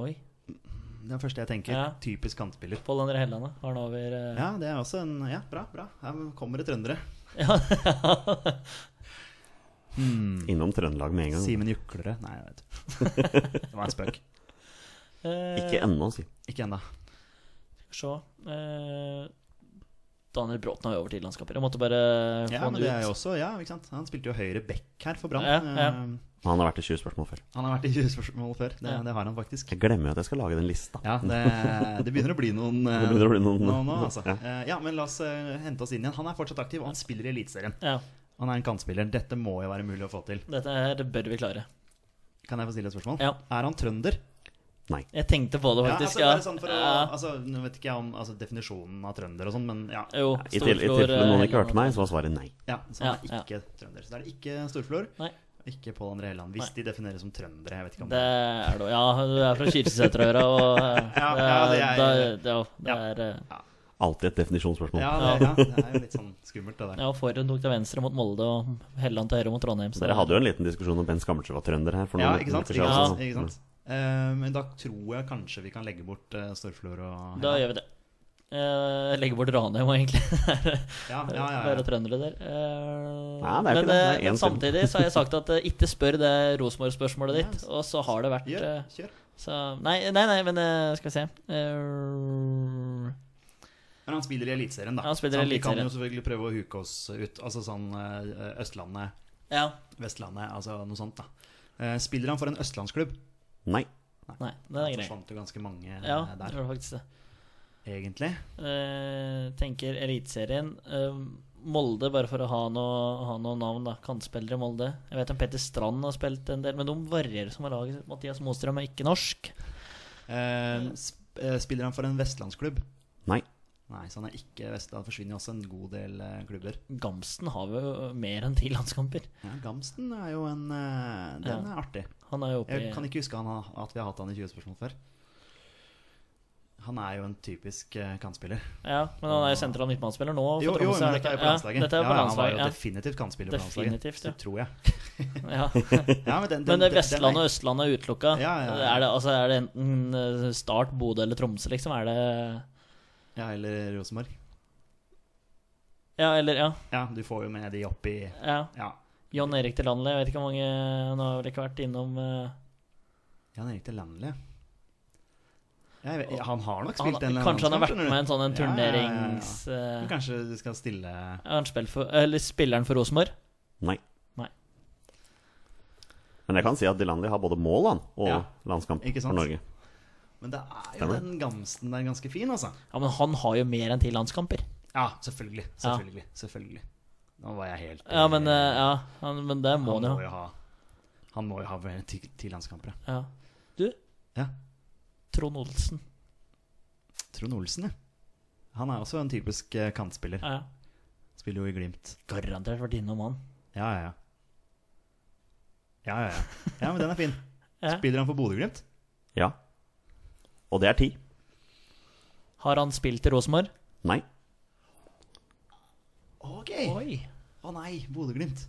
S4: Oi.
S3: Det er det første jeg tenker.
S4: Ja.
S3: Typisk kantspiller.
S4: Pål André Helland, har han over eh,
S3: Ja, det er også en Ja, bra, bra. Her kommer det trøndere. Mm.
S2: Innom Trøndelag med en gang.
S3: Simen Juklere. Nei, jeg vet ikke.
S2: <laughs>
S3: Det var en spøk.
S4: eh,
S2: Ikke ennå, si.
S3: Ikke ennå.
S4: Se. Eh, Daniel Bråten har jo over ti landskamper. Jeg måtte bare
S3: Ja, men
S4: få han
S3: det er jo
S4: ut.
S3: også Ja, ikke sant. Han spilte jo høyre back her for Brann.
S4: Ja, ja.
S3: Eh,
S2: Han har vært i 20 spørsmål før.
S3: Han har vært i 20 spørsmål før. Det,
S4: Ja.
S3: det har han faktisk.
S2: Jeg glemmer jo at jeg skal lage den lista.
S3: Ja, det, det begynner å bli noen eh,
S2: <laughs> Det begynner å bli noen-
S3: nå, nå, altså.
S2: Ja.
S3: Eh, ja, men la oss eh, hente oss inn igjen. Han er fortsatt aktiv, og han spiller i Eliteserien.
S4: Ja,
S3: Han er en kantspiller. Dette må jo være mulig å få til.
S4: dette her bør vi klare.
S3: Kan jeg få stille et spørsmål?
S4: Ja.
S3: Er han trønder?
S2: Nei.
S4: Jeg tenkte på det,
S3: Ja,
S4: faktisk.
S3: altså, bare sånn for å,
S4: Ja.
S3: altså, nå vet ikke jeg om altså, definisjonen av trønder og sånn, men ja.
S4: Jo,
S2: I til- i
S4: Storflor,
S2: tilfelle noen
S4: eh,
S2: ikke hørte
S4: Helland.
S2: meg, så var svaret nei.
S3: ja så han
S4: Ja,
S3: er ikke trønder. Så da er det ikke Storflor,
S4: Nei.
S3: ikke Pål André Helland. Hvis de defineres som trøndere, jeg vet ikke om
S4: Det er du. Ja, du er fra Kirkesæterøra, og eh,
S3: <laughs> Ja, ja, det er-
S4: det, er- det
S3: Ja.
S4: er eh,
S2: Alltid et definisjonsspørsmål.
S3: Ja, det, ja, det er jo litt sånn skummelt, det der.
S4: Ja, Forhen tok til venstre mot Molde og Helland til høyre mot Trondheim. Så
S2: Dere hadde jo en liten diskusjon om Ben Skammelsen var trønder her. For
S3: Ja,
S2: noen
S3: ikke sant?
S2: minutter
S3: Ikke
S2: siden,
S3: sant?
S2: altså.
S3: Ikke sant? Eh, men da tror jeg kanskje vi kan legge bort uh, Storflor og
S4: Da gjør vi det. Eh, legger bort Ranheim, og egentlig.
S3: Ja, ja, ja,
S4: Bare
S3: ja.
S4: trøndere der. Eh,
S2: Nei, det er jo ikke det.
S4: men
S2: Det er
S4: eh,
S2: én til.
S4: samtidig så har jeg sagt at eh, ikke spør det Rosenborg-spørsmålet
S3: <laughs>
S4: ditt. Og så har det vært
S3: Gjør,
S4: eh,
S3: kjør.
S4: så, Nei, nei, nei, men eh, skal vi se Eh,
S3: Men han spiller i Eliteserien, da.
S4: Han spiller i
S3: Så Vi kan
S4: Eliteserien.
S3: jo selvfølgelig prøve å huke oss ut. Altså sånn eh, Østlandet,
S4: Ja.
S3: Vestlandet, altså noe sånt, da. Eh, spiller han for en østlandsklubb?
S2: Nei.
S4: Nei, den er
S3: Det
S4: grei.
S3: forsvant jo ganske mange eh,
S4: Ja, jeg
S3: der,
S4: tror faktisk det.
S3: egentlig.
S4: Eh, tenker Eliteserien. Eh, Molde, bare for å ha noe, ha noe navn, da. Kantspillere i Molde. Jeg vet om Petter Strand har spilt en del, men de varierer som har laget. Mathias Mostrøm er ikke norsk.
S3: Eh, sp eh, spiller han for en vestlandsklubb?
S2: Nei.
S3: Nei, så han er ikke Vestland. Det forsvinner jo også en god del eh, klubber.
S4: Gamsten har jo mer enn ti landskamper.
S3: Ja, Gamsten er jo en eh, Den
S4: Ja.
S3: er artig.
S4: Han er jo oppe i
S3: Jeg kan ikke huske han, har- at vi har hatt han i 20 spørsmål før. Han er jo en typisk eh, kantspiller.
S4: Ja, men han er jo sentral midtbanespiller nå. for
S3: Jo, jo,
S4: Tromsø,
S3: men
S4: det
S3: dette er jo
S4: ikke?
S3: på landslaget.
S4: Ja, dette er jo
S3: Ja,
S4: på
S3: ja, han var jo
S4: landslaget.
S3: definitivt kantspiller på landslaget.
S4: Definitivt,
S3: <laughs> Det tror jeg.
S4: ja. Ja, ja.
S3: Ja, men den,
S4: <laughs>
S3: den-
S4: Men det
S3: den-
S4: Vestlandet
S3: den
S4: og
S3: er-
S4: Østlandet er utelukka.
S3: Ja, ja, ja.
S4: Er, det, altså, er det enten eh, Start, Bodø eller Tromsø, liksom? Er det
S3: Ja, eller Rosenborg.
S4: Ja, eller Ja.
S3: Ja, du får jo med de opp i
S4: ja.
S3: Ja,
S4: John Erik til Landli, jeg vet ikke hvor mange Han har vel ikke vært innom eh,
S3: Jan Erik til Landli. Ja, jeg vet- ja, han har nok
S4: han,
S3: spilt en eller annen
S4: Kanskje han har vært
S3: landskamp, skjønner
S4: med i en sånn en
S3: du. Ja, ja, ja, ja.
S4: turnerings... eh,
S3: Men Kanskje du skal stille
S4: er han spill for, eller spilleren for Rosenborg?
S2: Nei.
S4: Nei.
S2: Men jeg kan si at Dilanli har både mål han, og
S3: Ja.
S2: landskamp
S3: Ikke sant?
S2: for Norge.
S3: Men det er jo den Gamsten der ganske fin, altså.
S4: Ja, men han har jo mer enn ti landskamper.
S3: Ja, selvfølgelig. Selvfølgelig. Selvfølgelig. Nå var jeg helt
S4: Ja, men, eh, ja, han, men det må
S3: Han
S4: han
S3: må
S4: jo.
S3: jo ha Han må jo ha vel ti, ti landskamper, ja.
S4: Ja. Du,
S3: ja.
S4: Trond Olsen.
S3: Trond Olsen, ja. Han er også en typisk eh, kantspiller.
S4: Ja, ja.
S3: Spiller jo i Glimt.
S4: Garantert vært innom han.
S3: Ja, ja, ja. Ja, ja, ja. ja men den er fin.
S4: <laughs> Ja.
S3: Spiller han for Bodø-Glimt?
S2: Ja. Og det er ti.
S4: Har han spilt i Rosenborg?
S2: Nei.
S3: Ok! Å
S4: Oi,
S3: nei, Bodø-Glimt.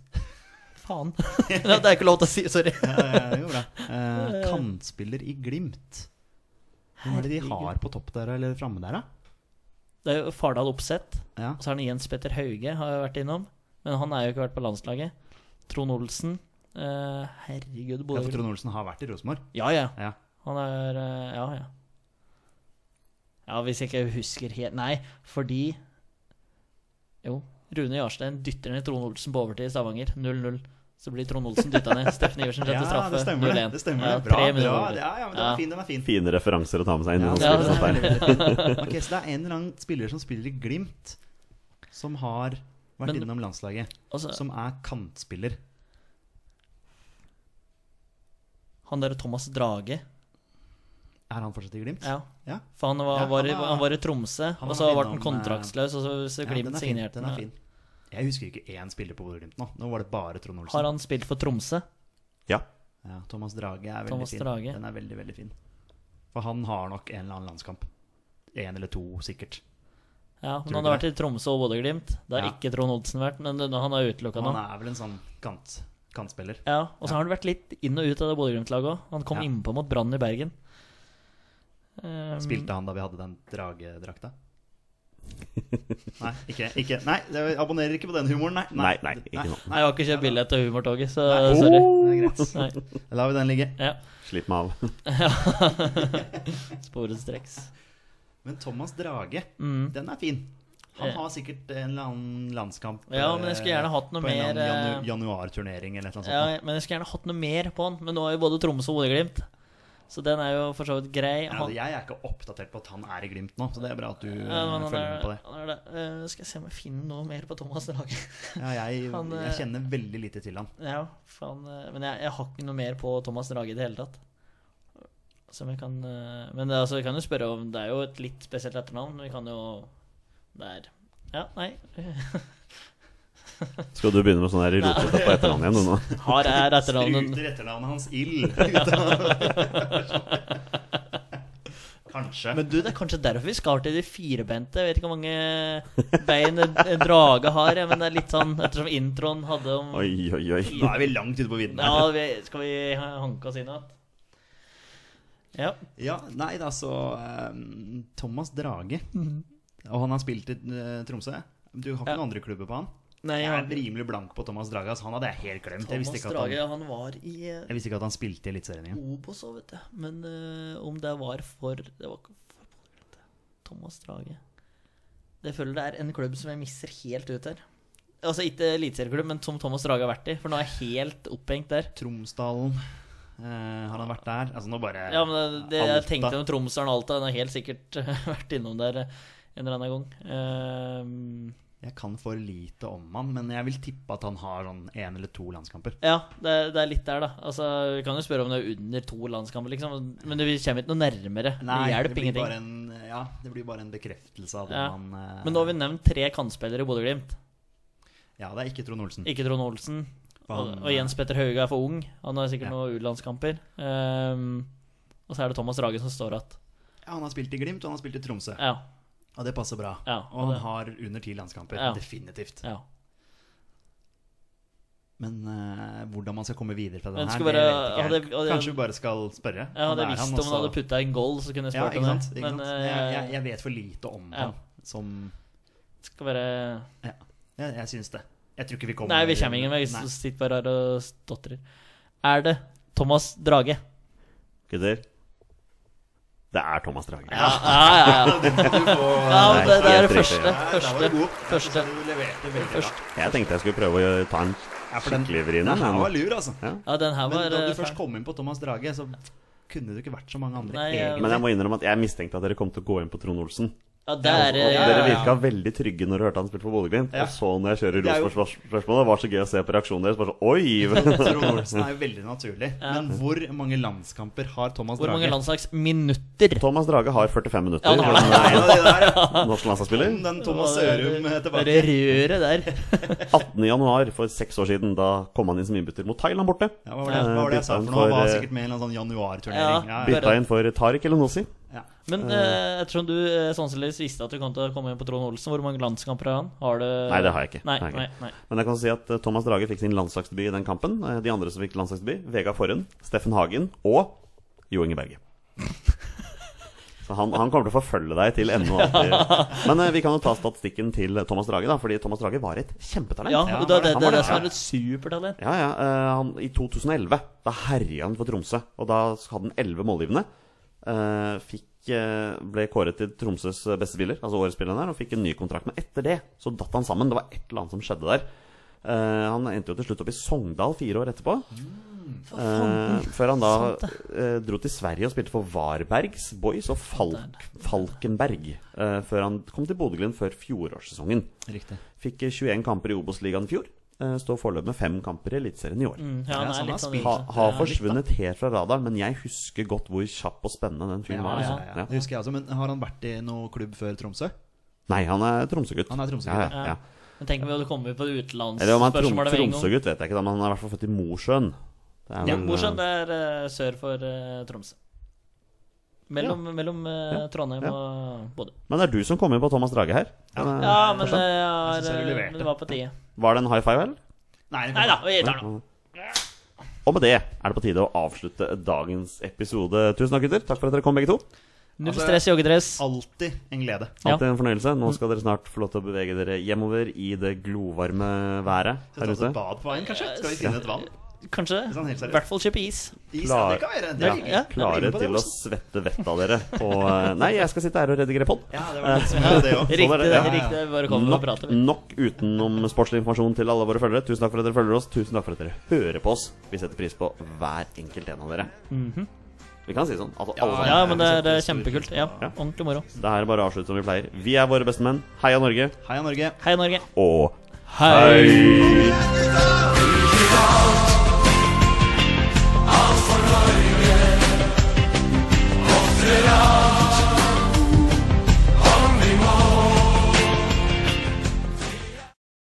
S4: faen. <laughs> Ja, det er ikke lov til å si, sorry.
S3: Ja, ja, det går bra. Eh,
S4: <laughs>
S3: kantspiller i Glimt. Hvem er det de har på topp der, eller framme der, da?
S4: Det er jo Fardal Opseth.
S3: Ja.
S4: Og så har han Jens Petter Hauge har jo vært innom. Men han er jo ikke vært på landslaget. Trond Olsen. eh, herregud,
S3: Ja, for
S4: Bodø
S3: Trond Olsen har vært i Rosenborg.
S4: Ja, ja.
S3: Ja.
S4: Han er eh, Ja, ja. Ja, hvis jeg ikke husker helt Nei, fordi Jo, Rune Jarstein dytter ned Trond Olsen på overtid i Stavanger. 0-0. Så blir Trond Olsen dytta ned. Steffen Iversen
S3: <laughs> Ja,
S4: setter straffe.
S3: det stemmer det.
S4: 0-1.
S3: det stemmer
S4: Ja,
S3: det. Bra,
S4: tre
S3: bra.
S4: minutter over.
S3: Ja, ja, men den
S4: Ja.
S3: er fin, den er fin.
S2: Fine referanser å ta med seg inn.
S3: Ja,
S2: i noen
S3: ja,
S2: spill
S4: det er
S2: som dette her.
S3: <laughs> Ok, Så det er en eller annen spiller som spiller i Glimt, som har vært
S4: Men-
S3: innom landslaget.
S4: Altså-
S3: Som er kantspiller.
S4: Han derre Thomas Drage.
S3: Er han fortsatt i Glimt?
S4: Ja.
S3: Ja.
S4: For han var,
S3: Ja,
S4: var, i-
S3: han var-
S4: han var i Tromsø,
S3: han
S4: og
S3: var
S4: så ble han
S3: innom, eh,
S4: kontraktsløs, og så, så
S3: Ja, den
S4: Glimt
S3: er fin.
S4: signerte
S3: Den er
S4: han.
S3: fin. Jeg husker ikke én spiller på Bodø-Glimt nå. Nå var det bare Trond Olsen.
S4: Har han spilt for Tromsø?
S2: Ja.
S3: Ja, Thomas Drage er veldig
S4: Thomas
S3: fin.
S4: Drage.
S3: Den er veldig, veldig fin. For han har nok en eller annen landskamp. Én eller to, sikkert. Tror
S4: Ja, men
S3: ikke
S4: han har vært i Tromsø og Bodø-Glimt. Det har
S3: Ja.
S4: ikke Trond Olsen vært, men det- han er utelukka nå.
S3: Han er vel en sånn kant, kantspiller.
S4: Ja, og så har han vært litt inn og ut av det Bodø-Glimt-laget òg. Han kom
S3: Ja.
S4: innpå mot Brann i Bergen. Um,
S2: Mm.
S3: Spilte han da vi hadde den dragedrakta? Nei, ikke, ikke Nei, jeg abonnerer ikke på den humoren, nei.
S2: Nei, nei, ikke nå.
S4: Nei, jeg har ikke kjøpt billett til humortoget, så
S3: Nei. Oh!
S4: sorry.
S3: Det er
S2: <laughs>
S3: greit.
S4: Nei.
S3: Da lar vi den ligge.
S4: Ja.
S2: Slipp meg av. <laughs>
S4: Sporenstreks.
S3: Men Thomas Drage,
S4: Mm.
S3: den er fin. Han
S4: Eh.
S3: har sikkert en eller annen landskamp
S4: Ja, men jeg skulle gjerne
S3: eh,
S4: hatt noe
S3: på en eller annen
S4: mer, eh,
S3: janu januarturnering eller et eller annet
S4: Ja,
S3: sånt.
S4: men jeg skulle gjerne hatt noe mer på han, men nå er jo både Tromsø og Bodø-Glimt. Så den er jo for så vidt grei.
S3: Ja,
S4: Han,
S3: jeg er ikke oppdatert på at han er i Glimt nå, så det er bra at du eh,
S4: Ja, men han
S3: følger
S4: er,
S3: med på det.
S4: han er det. Eh, skal jeg se om jeg finner noe mer på Thomas Drage.
S3: Ja, jeg,
S4: <laughs> Han, eh,
S3: jeg kjenner veldig lite til han.
S4: ja, faen, eh, men jeg, jeg har ikke noe mer på Thomas Drage i det hele tatt. Som jeg kan eh, Men det, er altså, vi kan jo spørre om Det er jo et litt spesielt etternavn. men Vi kan jo Det er Ja,
S3: <laughs>
S4: nei.
S2: Skal du begynne med sånn her rotete på etternavn igjen, du nå?
S3: <laughs>
S4: Har er etternavnet
S3: Spruter etternavnet hans ild <laughs> ut
S4: <laughs>
S3: av- Kanskje.
S4: Men du, det er kanskje derfor vi skal til de firebente. Jeg vet ikke hvor mange bein en en drage har, ja, men det er litt sånn ettersom introen hadde om
S2: Oi, oi, oi.
S3: Nå er vi langt ute på viddene.
S4: Ja, vi, skal vi hanke oss inn igjen? Ja.
S3: Ja, nei da, så eh, Thomas Drage. Og han har spilt i eh, Tromsø. Du har ikke
S4: Ja.
S3: noen andre klubber på han?
S4: Nei,
S3: Jeg
S4: han-
S3: er rimelig blank på Thomas Drage. ass. Han hadde jeg helt glemt. Jeg visste
S4: Thomas
S3: ikke at
S4: Drage,
S3: han,
S4: han var i eh,
S3: jeg visste ikke at han spilte i Eliteserien igjen.
S4: Obos òg, vet du. Men eh, om det var for Det var ikke for Bodø-Glimt, det. Thomas Drage. Det føler det er en klubb som jeg misser helt ut her. Altså ikke eliteserieklubb, men som Thomas Drage har vært i. For nå er jeg helt opphengt der.
S3: Tromsdalen. eh, har han vært der? Altså, nå bare
S4: Ja, men det, det jeg
S3: Alta.
S4: tenkte om Tromsøren og Alta, den har helt sikkert <laughs> vært innom der en eller annen gang. Ehm,
S3: Jeg kan for lite om han, men jeg vil tippe at han har sånn én eller to landskamper.
S4: ja, det, det er litt der, da. Altså, Vi kan jo spørre om det er under to landskamper, liksom. Men vi kommer ikke noe nærmere. det
S3: det
S4: hjelper
S3: blir
S4: ingenting.
S3: bare en, ja, det blir bare en bekreftelse av det
S4: Ja.
S3: han eh,
S4: Men nå har vi nevnt tre kantspillere i Bodø-Glimt.
S3: Ja, det er ikke Trond Olsen.
S4: Ikke Trond Olsen. Og,
S3: Han,
S4: og Jens Petter Hauge er for ung. Han har
S3: Ja.
S4: sikkert noen U-landskamper. Ehm, og så er det Thomas Drage som står igjen.
S3: Ja, han har spilt i Glimt, og han har spilt i Tromsø.
S4: Ja,
S3: Og det passer bra.
S4: Ja,
S3: og han
S4: det-
S3: har under ti landskamper.
S4: Ja.
S3: Definitivt.
S4: ja.
S3: Men eh, hvordan man skal komme videre fra den
S4: Men
S3: her,
S4: skal
S3: det vet
S4: bare-
S3: ikke jeg.
S4: hadde jeg- hadde jeg-
S3: Kanskje vi bare skal spørre?
S4: Jeg
S3: Han
S4: hadde
S3: er
S4: visst
S3: han
S4: om han
S3: også-
S4: hadde putta en goal, så kunne jeg
S3: ja,
S4: spurt
S3: ikke
S4: om
S3: sant? Ikke
S4: det. Men
S3: sant?
S4: eh,
S3: Jeg, jeg, jeg vet for lite om
S4: Ja.
S3: han som
S4: skal bare
S3: Ja, jeg, jeg syns det. Jeg tror ikke vi kommer
S4: Nei, vi kommer ingen vei.
S3: Nei.
S4: Vi sitter bare her og stotrer. Er det Thomas Drage?
S2: Gutter. Det er Thomas Drage.
S4: Ja, ja, ja. ja. men det, det er
S2: Helt
S4: det
S2: riktig.
S4: første.
S3: Nei, der var
S4: Første.
S3: du god.
S4: første.
S3: Du leverte veldig bra.
S4: Først.
S2: Jeg tenkte jeg skulle prøve å ta en
S3: Ja, for den-
S2: skikkelig vrien.
S3: Den her var
S2: men-
S3: lur, altså.
S2: Ja.
S4: Ja, den her
S3: Men
S4: var
S3: da du
S4: eh,
S3: først
S4: fæl.
S3: kom inn på Thomas Drage, så kunne det ikke vært så mange andre.
S4: Nei, ja.
S3: egentlig.
S2: Men jeg må innrømme at jeg mistenkte at dere kom til å gå inn på Trond Olsen.
S4: Ja, det er eh,
S2: Og
S4: ja,
S2: dere
S4: ja, ja.
S2: virka veldig trygge når dere hørte han spilte for Bodø-Glimt.
S3: Ja.
S2: Og så når jeg kjører
S3: Det er jo-
S2: Rosenborg-spørsmålet, var så gøy å se på reaksjonen deres. Bare sånn,
S3: <laughs>
S2: oi! <laughs>
S3: Trond Olsen er jo veldig naturlig. Men hvor mange landskamper har Thomas
S4: Hvor
S3: Drage?
S4: mange landslagsminutter?
S2: Thomas Drage har 45 minutter.
S4: Ja, han har
S2: som
S3: Nei, det der,
S4: <laughs>
S3: ja.
S2: er norsk landslagsspiller.
S3: Om Den Thomas Sørum tilbake.
S4: Det røret der.
S2: 18. januar for seks år siden. Da kom han inn som innbytter mot Thailand borte.
S3: Ja, hva var det, hva var det jeg sa for noe? Han var sikkert med i en eller annen sånn januarturnering.
S4: Ja.
S3: Ja,
S2: Bytta inn for Tariq Elenossi.
S3: ja.
S4: Men eh, ettersom du eh, sannsynligvis visste at du kom til å komme inn på Trond Olsen, hvor mange landskamper har han? Har du
S2: Nei, det har jeg ikke.
S4: Nei,
S2: Det har
S4: nei,
S2: jeg ikke.
S4: nei.
S2: Men jeg kan si at eh, Thomas Drage fikk sin landslagsdebut i den kampen. Eh, De andre som fikk landslagsdebut, Vegard Forhen, Steffen Hagen og Jo Inge Berge. Så han, han kommer til å forfølge deg til enden. og alltid. Men eh, vi kan jo ta statistikken til Thomas Drage, da, fordi Thomas Drage var et kjempetalent.
S4: Ja,
S3: han
S4: og det,
S3: var
S4: det,
S3: det.
S4: det, er det som er et supertalent.
S2: Ja, ja. eh, han, I 2011 da herja han for Tromsø, og da hadde han elleve målgivende. Eh, fikk, eh, ble kåret til Tromsøs beste spiller, altså årets spiller der, og fikk en ny kontrakt. Men etter det så datt han sammen. Det var et eller annet som skjedde der. Eh, han endte jo til slutt opp i Sogndal fire år etterpå. Eh, før han da eh, dro til Sverige og spilte for Varbergs Boys og Falk, Falkenberg. eh, før han kom til Bodø-Glimt før fjorårssesongen.
S3: Riktig.
S2: Fikk eh, 21 kamper i Obos-ligaen i fjor. eh, står foreløpig med fem kamper i Eliteserien i år.
S4: Mm, ja,
S3: Ja, så
S4: han er
S3: han har
S4: litt sånn
S3: spilt.
S2: Ha,
S4: ute.
S2: har
S4: Ja, litt, da.
S2: forsvunnet helt fra radaren, men jeg husker godt hvor kjapp og spennende den fyren
S3: Ja,
S2: var.
S3: ja,
S2: altså.
S3: ja. Det husker jeg også. Men har han vært i noen klubb før Tromsø?
S2: Nei, han er Tromsø-gutt.
S3: Han er Tromsø-gutt,
S2: ja,
S4: ja.
S2: ja, ja.
S4: Men tenk om vi hadde kommet på
S2: Eller om han er Trom
S4: utenlandsspørsmålet med en gang.
S2: Tromsø-gutt, vet jeg ikke, da, men han er i hvert fall født i Mosjøen. Det er
S4: Ja,
S2: vel, eh,
S4: Mosjøen det er eh, sør for eh, Tromsø. Mellom, mellom eh,
S2: Ja.
S4: Trondheim
S2: Ja.
S4: og Bodø.
S2: Men det er du som kom inn på Thomas Drage her. Men, eh,
S4: Ja, men det,
S3: Jeg synes jeg
S4: er,
S3: leverte.
S4: men det var på tide.
S2: Var det en high five, eller?
S3: Nei,
S4: Nei da, vi tar den.
S2: Og med det er det på tide å avslutte dagens episode. Tusen takk, gutter. Takk for at dere kom, begge to.
S4: Null
S3: Altså-
S4: stress joggedress.
S3: Alltid en glede.
S4: Ja.
S2: Alltid en fornøyelse. Nå skal dere snart få lov til å bevege dere hjemover i det glovarme været
S3: Skal vi
S2: her
S3: ta oss
S2: ute.
S3: et bad på veien, kanskje? Skal vi finne et vann?
S4: Kanskje.
S3: Sånn, helt
S4: I
S3: seriøst.
S4: hvert fall kjøpe is.
S3: Is, ja,
S2: Klar-
S3: det kan være. Det
S2: ja,
S3: er hyggelig.
S4: ja.
S2: klare til å svette vettet av dere på eh, Nei, jeg skal sitte her og redigere pod.
S3: Ja, det var litt spennende, det også.
S2: Sånn er
S4: Riktig,
S2: det. Ja, ja, ja.
S4: riktig. Bare kom og
S2: Nok,
S4: prate. vi.
S2: nok utenom sportslig informasjon til alle våre følgere. Tusen takk for at dere følger oss. Tusen takk for at dere hører på oss. Vi setter pris på hver enkelt en av dere. Vi kan si sånn. Altså, alle sammen.
S4: Mhm. Ja, men det er
S3: setter
S4: eh,
S3: pris
S4: kjempekult.
S3: på-
S4: Ja,
S2: Ja.
S4: Ordentlig moro.
S2: Det her er bare å avslutte som vi pleier. Vi er våre beste menn. Heia Norge.
S3: Heia Norge.
S4: Hei, Norge.
S2: Og
S4: Hei!
S2: hei!
S6: Gutta!